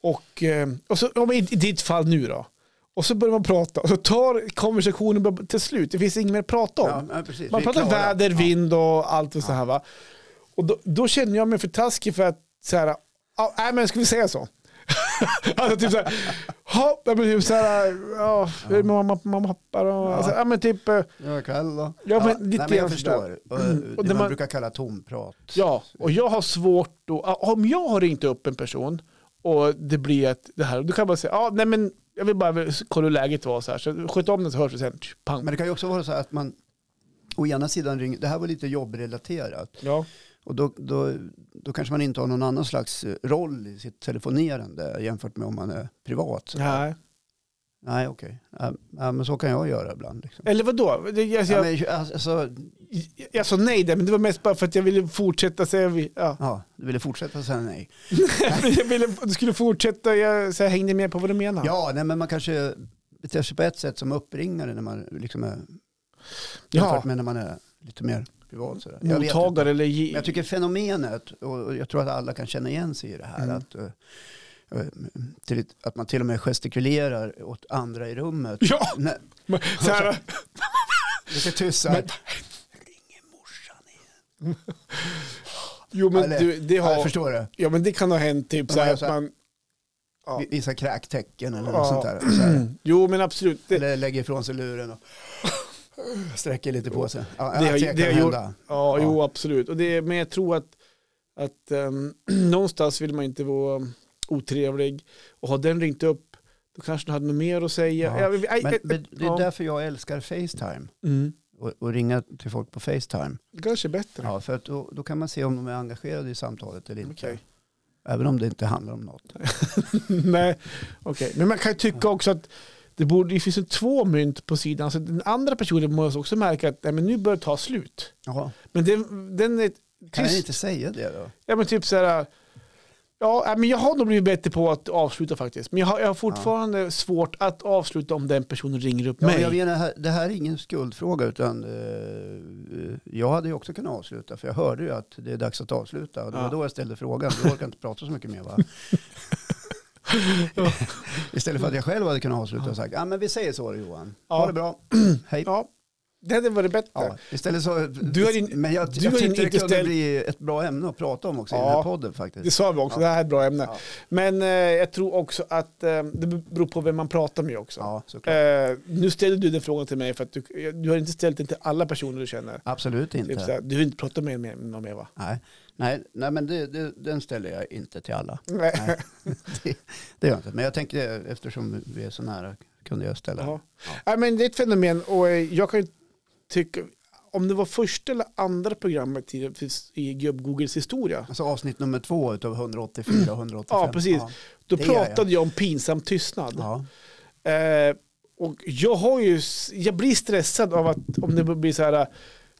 S2: Och, eh, och så, om i, i ditt fall nu då. Och så börjar man prata. Och så tar konversationen bara till slut. Det finns inget mer att prata om.
S1: Ja, ja, precis.
S2: man
S1: Vi är
S2: pratar
S1: klara.
S2: väder,
S1: Ja.
S2: vind och allt och så här va. Och då, då känner jag mig för taskig för att så här, ja, nej men ska vi säga så? alltså typ så här, ja, men typ så här, ja, hur är mamma, mamma, pappa och, alltså, ja men typ, eh,
S1: Ja, kall då.
S2: Ja, men lite
S1: nej, men
S2: grann Mm.
S1: jag förstår. Och, eh,
S2: Och
S1: det
S2: när
S1: man,
S2: man-
S1: brukar kalla tomprat.
S2: Ja, och jag har svårt då, om jag har ringt upp en person och det blir att det här, då kan jag bara säga, ja nej men jag vill bara kolla hur läget var så här, så sköt om den så hörs vi sen. Pang.
S1: Men det kan ju också vara så här att man å ena sidan ringer, det här var lite jobbrelaterat.
S2: Ja,
S1: Och då, då, då kanske man inte har någon annan slags roll i sitt telefonerande jämfört med om man är privat. Så.
S2: nej.
S1: Nej, okej. Ja, ja, men så kan jag göra ibland. Liksom.
S2: Eller vadå? Det- Jag,
S1: Ja,
S2: Eh, jag,
S1: men, alltså,
S2: jag, jag sa nej där, men det var mest bara för att jag ville fortsätta säga, vi- ja.
S1: ja, du ville fortsätta säga nej.
S2: jag ville, du skulle fortsätta, jag, så jag hängde med på vad du menade.
S1: Ja, nej, men man kanske beter sig på ett sätt som uppringare när man liksom är,
S2: Ja,
S1: jämfört med när man är lite mer privat. Sådär. Jag vet inte.
S2: mottagare eller
S1: Men
S2: ge,
S1: jag tycker fenomenet, och och jag tror att alla kan känna igen sig i det här,
S2: Mm.
S1: att, eh, eh, till, att man till och med gestikulerar åt andra i rummet.
S2: Ja,
S1: Nej,
S2: men så här,
S1: lite tyst så här.
S2: Men-
S1: Ringer morsan igen?
S2: jo men
S1: Eller-
S2: du, det
S1: Ja, jag
S2: har,
S1: förstår det.
S2: ja men det kan ha hänt typ
S1: Men
S2: så
S1: man
S2: här
S1: gör
S2: att
S1: så här.
S2: man, Ja.
S1: Vi- Vissa kräktecken eller
S2: Ja.
S1: något sånt där. Så här.
S2: jo men absolut. Det,
S1: Eller lägger ifrån sig luren och sträcker lite på sig. Ja,
S2: Det har-
S1: att
S2: det har
S1: kan
S2: gjort-
S1: hända. Ja.
S2: Ja, jo absolut. Och det, men jag tror att, att ehm, någonstans vill man inte vara um, otrevlig. Och har den ringt upp, då kanske den hade något mer att säga.
S1: Ja,
S2: Ja, men,
S1: Men, men det är
S2: eh, ja.
S1: därför jag älskar Facetime.
S2: Mm.
S1: Och, och ringa till folk på Facetime.
S2: Det kanske är bättre.
S1: Ja, för att då, då kan man se om de är engagerade i samtalet eller inte.
S2: Okej.
S1: Även om det inte handlar om något.
S2: Nej, okej. Men man kan ju tycka också att det, borde, det finns ju två mynt på sidan. Så den andra personen måste också märka att nej, men nu börjar det ta slut.
S1: Jaha.
S2: Men den, den är
S1: Kan jag
S2: tyst.
S1: inte säga det då?
S2: Ja men typ så här. Ja, nej, men jag har nog blivit bättre på att avsluta faktiskt. Men jag har, jag har fortfarande svårt att avsluta om den personen ringer upp
S1: Ja, men
S2: mig.
S1: jag menar, det här är ingen skuldfråga utan eh, jag hade ju också kunnat avsluta för jag hörde ju att det är dags att avsluta och det
S2: Ja.
S1: var då jag ställde frågan. Du orkar inte prata så mycket mer va? Istället för att jag själv hade kunnat avsluta och sagt, ja men vi säger så då, Johan.
S2: Ja.
S1: Ha det bra, hej.
S2: Ja. Det hade varit bättre.
S1: Ja, istället så,
S2: Du har din-
S1: men jag,
S2: du
S1: jag
S2: har din
S1: tyckte det kunde
S2: interställ-
S1: bli ett bra ämne att prata om också i
S2: Ja,
S1: den här podden
S2: Det
S1: faktiskt.
S2: sa vi också,
S1: Ja.
S2: det här är ett bra ämne.
S1: Ja.
S2: Men eh, jag tror också att eh, det beror på vem man pratar med också.
S1: Ja, såklart.
S2: Eh, nu ställer du den frågan till mig för att du, du har inte ställt den till alla personer du känner.
S1: Absolut
S2: Typ
S1: inte.
S2: såhär, du vill inte prata med med- med någon mer va?
S1: Nej, nej, nej men det, det, den ställer jag inte till alla.
S2: Nej.
S1: Nej, det, det gör jag inte. Men jag tänkte, eftersom vi är så nära, kunde jag ställa.
S2: Ja. Nej, men det är ett fenomen och eh, jag kan ju tycka, om det var första eller andra programmet i, i Gubb Googles historia,
S1: Alltså avsnitt nummer två utav 184 och 185.
S2: Ja, precis. då
S1: Det är
S2: pratade jag om pinsam tystnad.
S1: Ja.
S2: Eh, och jag, har ju, s- jag blir stressad av att om det blir så här, eh,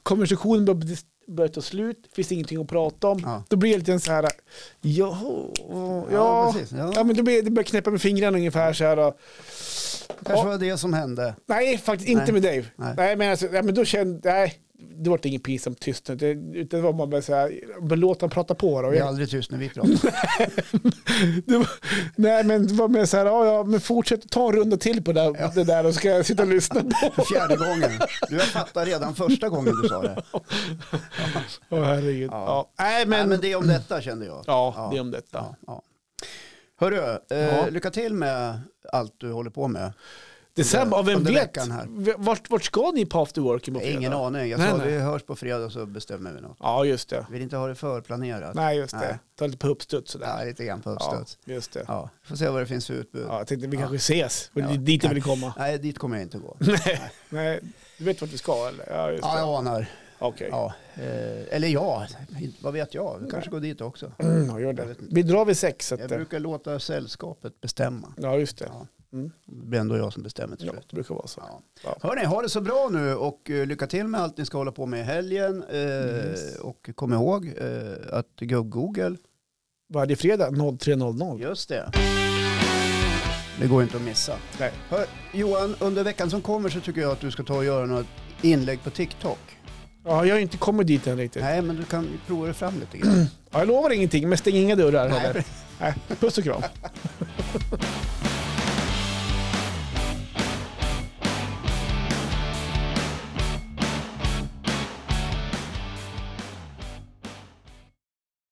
S2: konversationen bör- börjar ta slut, finns det ingenting att prata om.
S1: Ja.
S2: Då blir jag lite så här, eh, jaha, ja.
S1: Ja,
S2: ja,
S1: precis. Ja.
S2: men då blir, det börjar knäppa med fingrarna ungefär så här. Och,
S1: kanske var det som hände.
S2: nej, faktiskt inte
S1: Nej.
S2: med dig. Nej.
S1: Nej.
S2: men alltså, nej, men då kände, nej, det var ingen pinsam tystnad. Det, utan det var man bara så här, bara låt han prata på då.
S1: Vi är
S2: Jag,
S1: aldrig tyst när vi pratar.
S2: det var, nej, men det var mer så här, ja, ja, men fortsätt ta en runda till på det, där- det där och så ska jag sitta och lyssna på.
S1: För fjärde gången. Du har fattat redan första gången du sa det.
S2: Åh herregud. Ja.
S1: Ja.
S2: Nej, men,
S1: Nej, men det är om detta kände jag.
S2: ja,
S1: Ja.
S2: det är om detta.
S1: Ja, ja. Hörru, eh,
S2: Ja.
S1: lycka till med allt du håller på med.
S2: Detsamma, och vem
S1: Under
S2: vet?
S1: veckan här.
S2: V- Vart, vart ska ni på afterworken på fredag?
S1: Ingen aning. Jag
S2: Nej,
S1: sa
S2: nej.
S1: vi hörs på fredag så bestämmer vi något.
S2: Ja, just det.
S1: Vill inte ha det förplanerat.
S2: Nej, just det.
S1: Nej.
S2: Ta lite på uppstuds sådär.
S1: Ja, lite grann på uppstuds.
S2: Ja, just det. Ja.
S1: Ja. Får se vad det finns för utbud.
S2: jag tänkte vi kanske ses. Det är
S1: Ja.
S2: dit jag vill komma.
S1: Nej, dit kommer jag inte gå.
S2: Nej. Nej, du vet vart vi ska eller? Ja, just
S1: Ja,
S2: det.
S1: jag anar.
S2: Okej. Ja.
S1: Ja. Eh, eller ja, vad vet jag. Vi kanske går dit också.
S2: Mm, gör det. Vi drar vid sex. Så
S1: Jag
S2: att, eh,
S1: brukar låta sällskapet bestämma.
S2: ja, just det.
S1: Ja.
S2: Mm.
S1: Det blir ändå jag som bestämmer till
S2: Ja,
S1: slut.
S2: det brukar vara så.
S1: Ja.
S2: Ja.
S1: Hörni, ha det så bra nu och eh, lycka till med allt ni ska hålla på med i helgen. Eh,
S2: Yes.
S1: Och kom ihåg eh, att gubb-Google,
S2: Varje fredag 03.00.
S1: just det. Det går inte att missa.
S2: Nej.
S1: Hör, Johan, under veckan som kommer så tycker jag att du ska ta och göra något inlägg på TikTok.
S2: Ja, jag har inte kommit dit än riktigt.
S1: Nej, men du kan ju prova dig fram lite grann.
S2: Ja, jag lovar ingenting, men stäng inga dörrar heller.
S1: Nej,
S2: Nej. Puss och kram.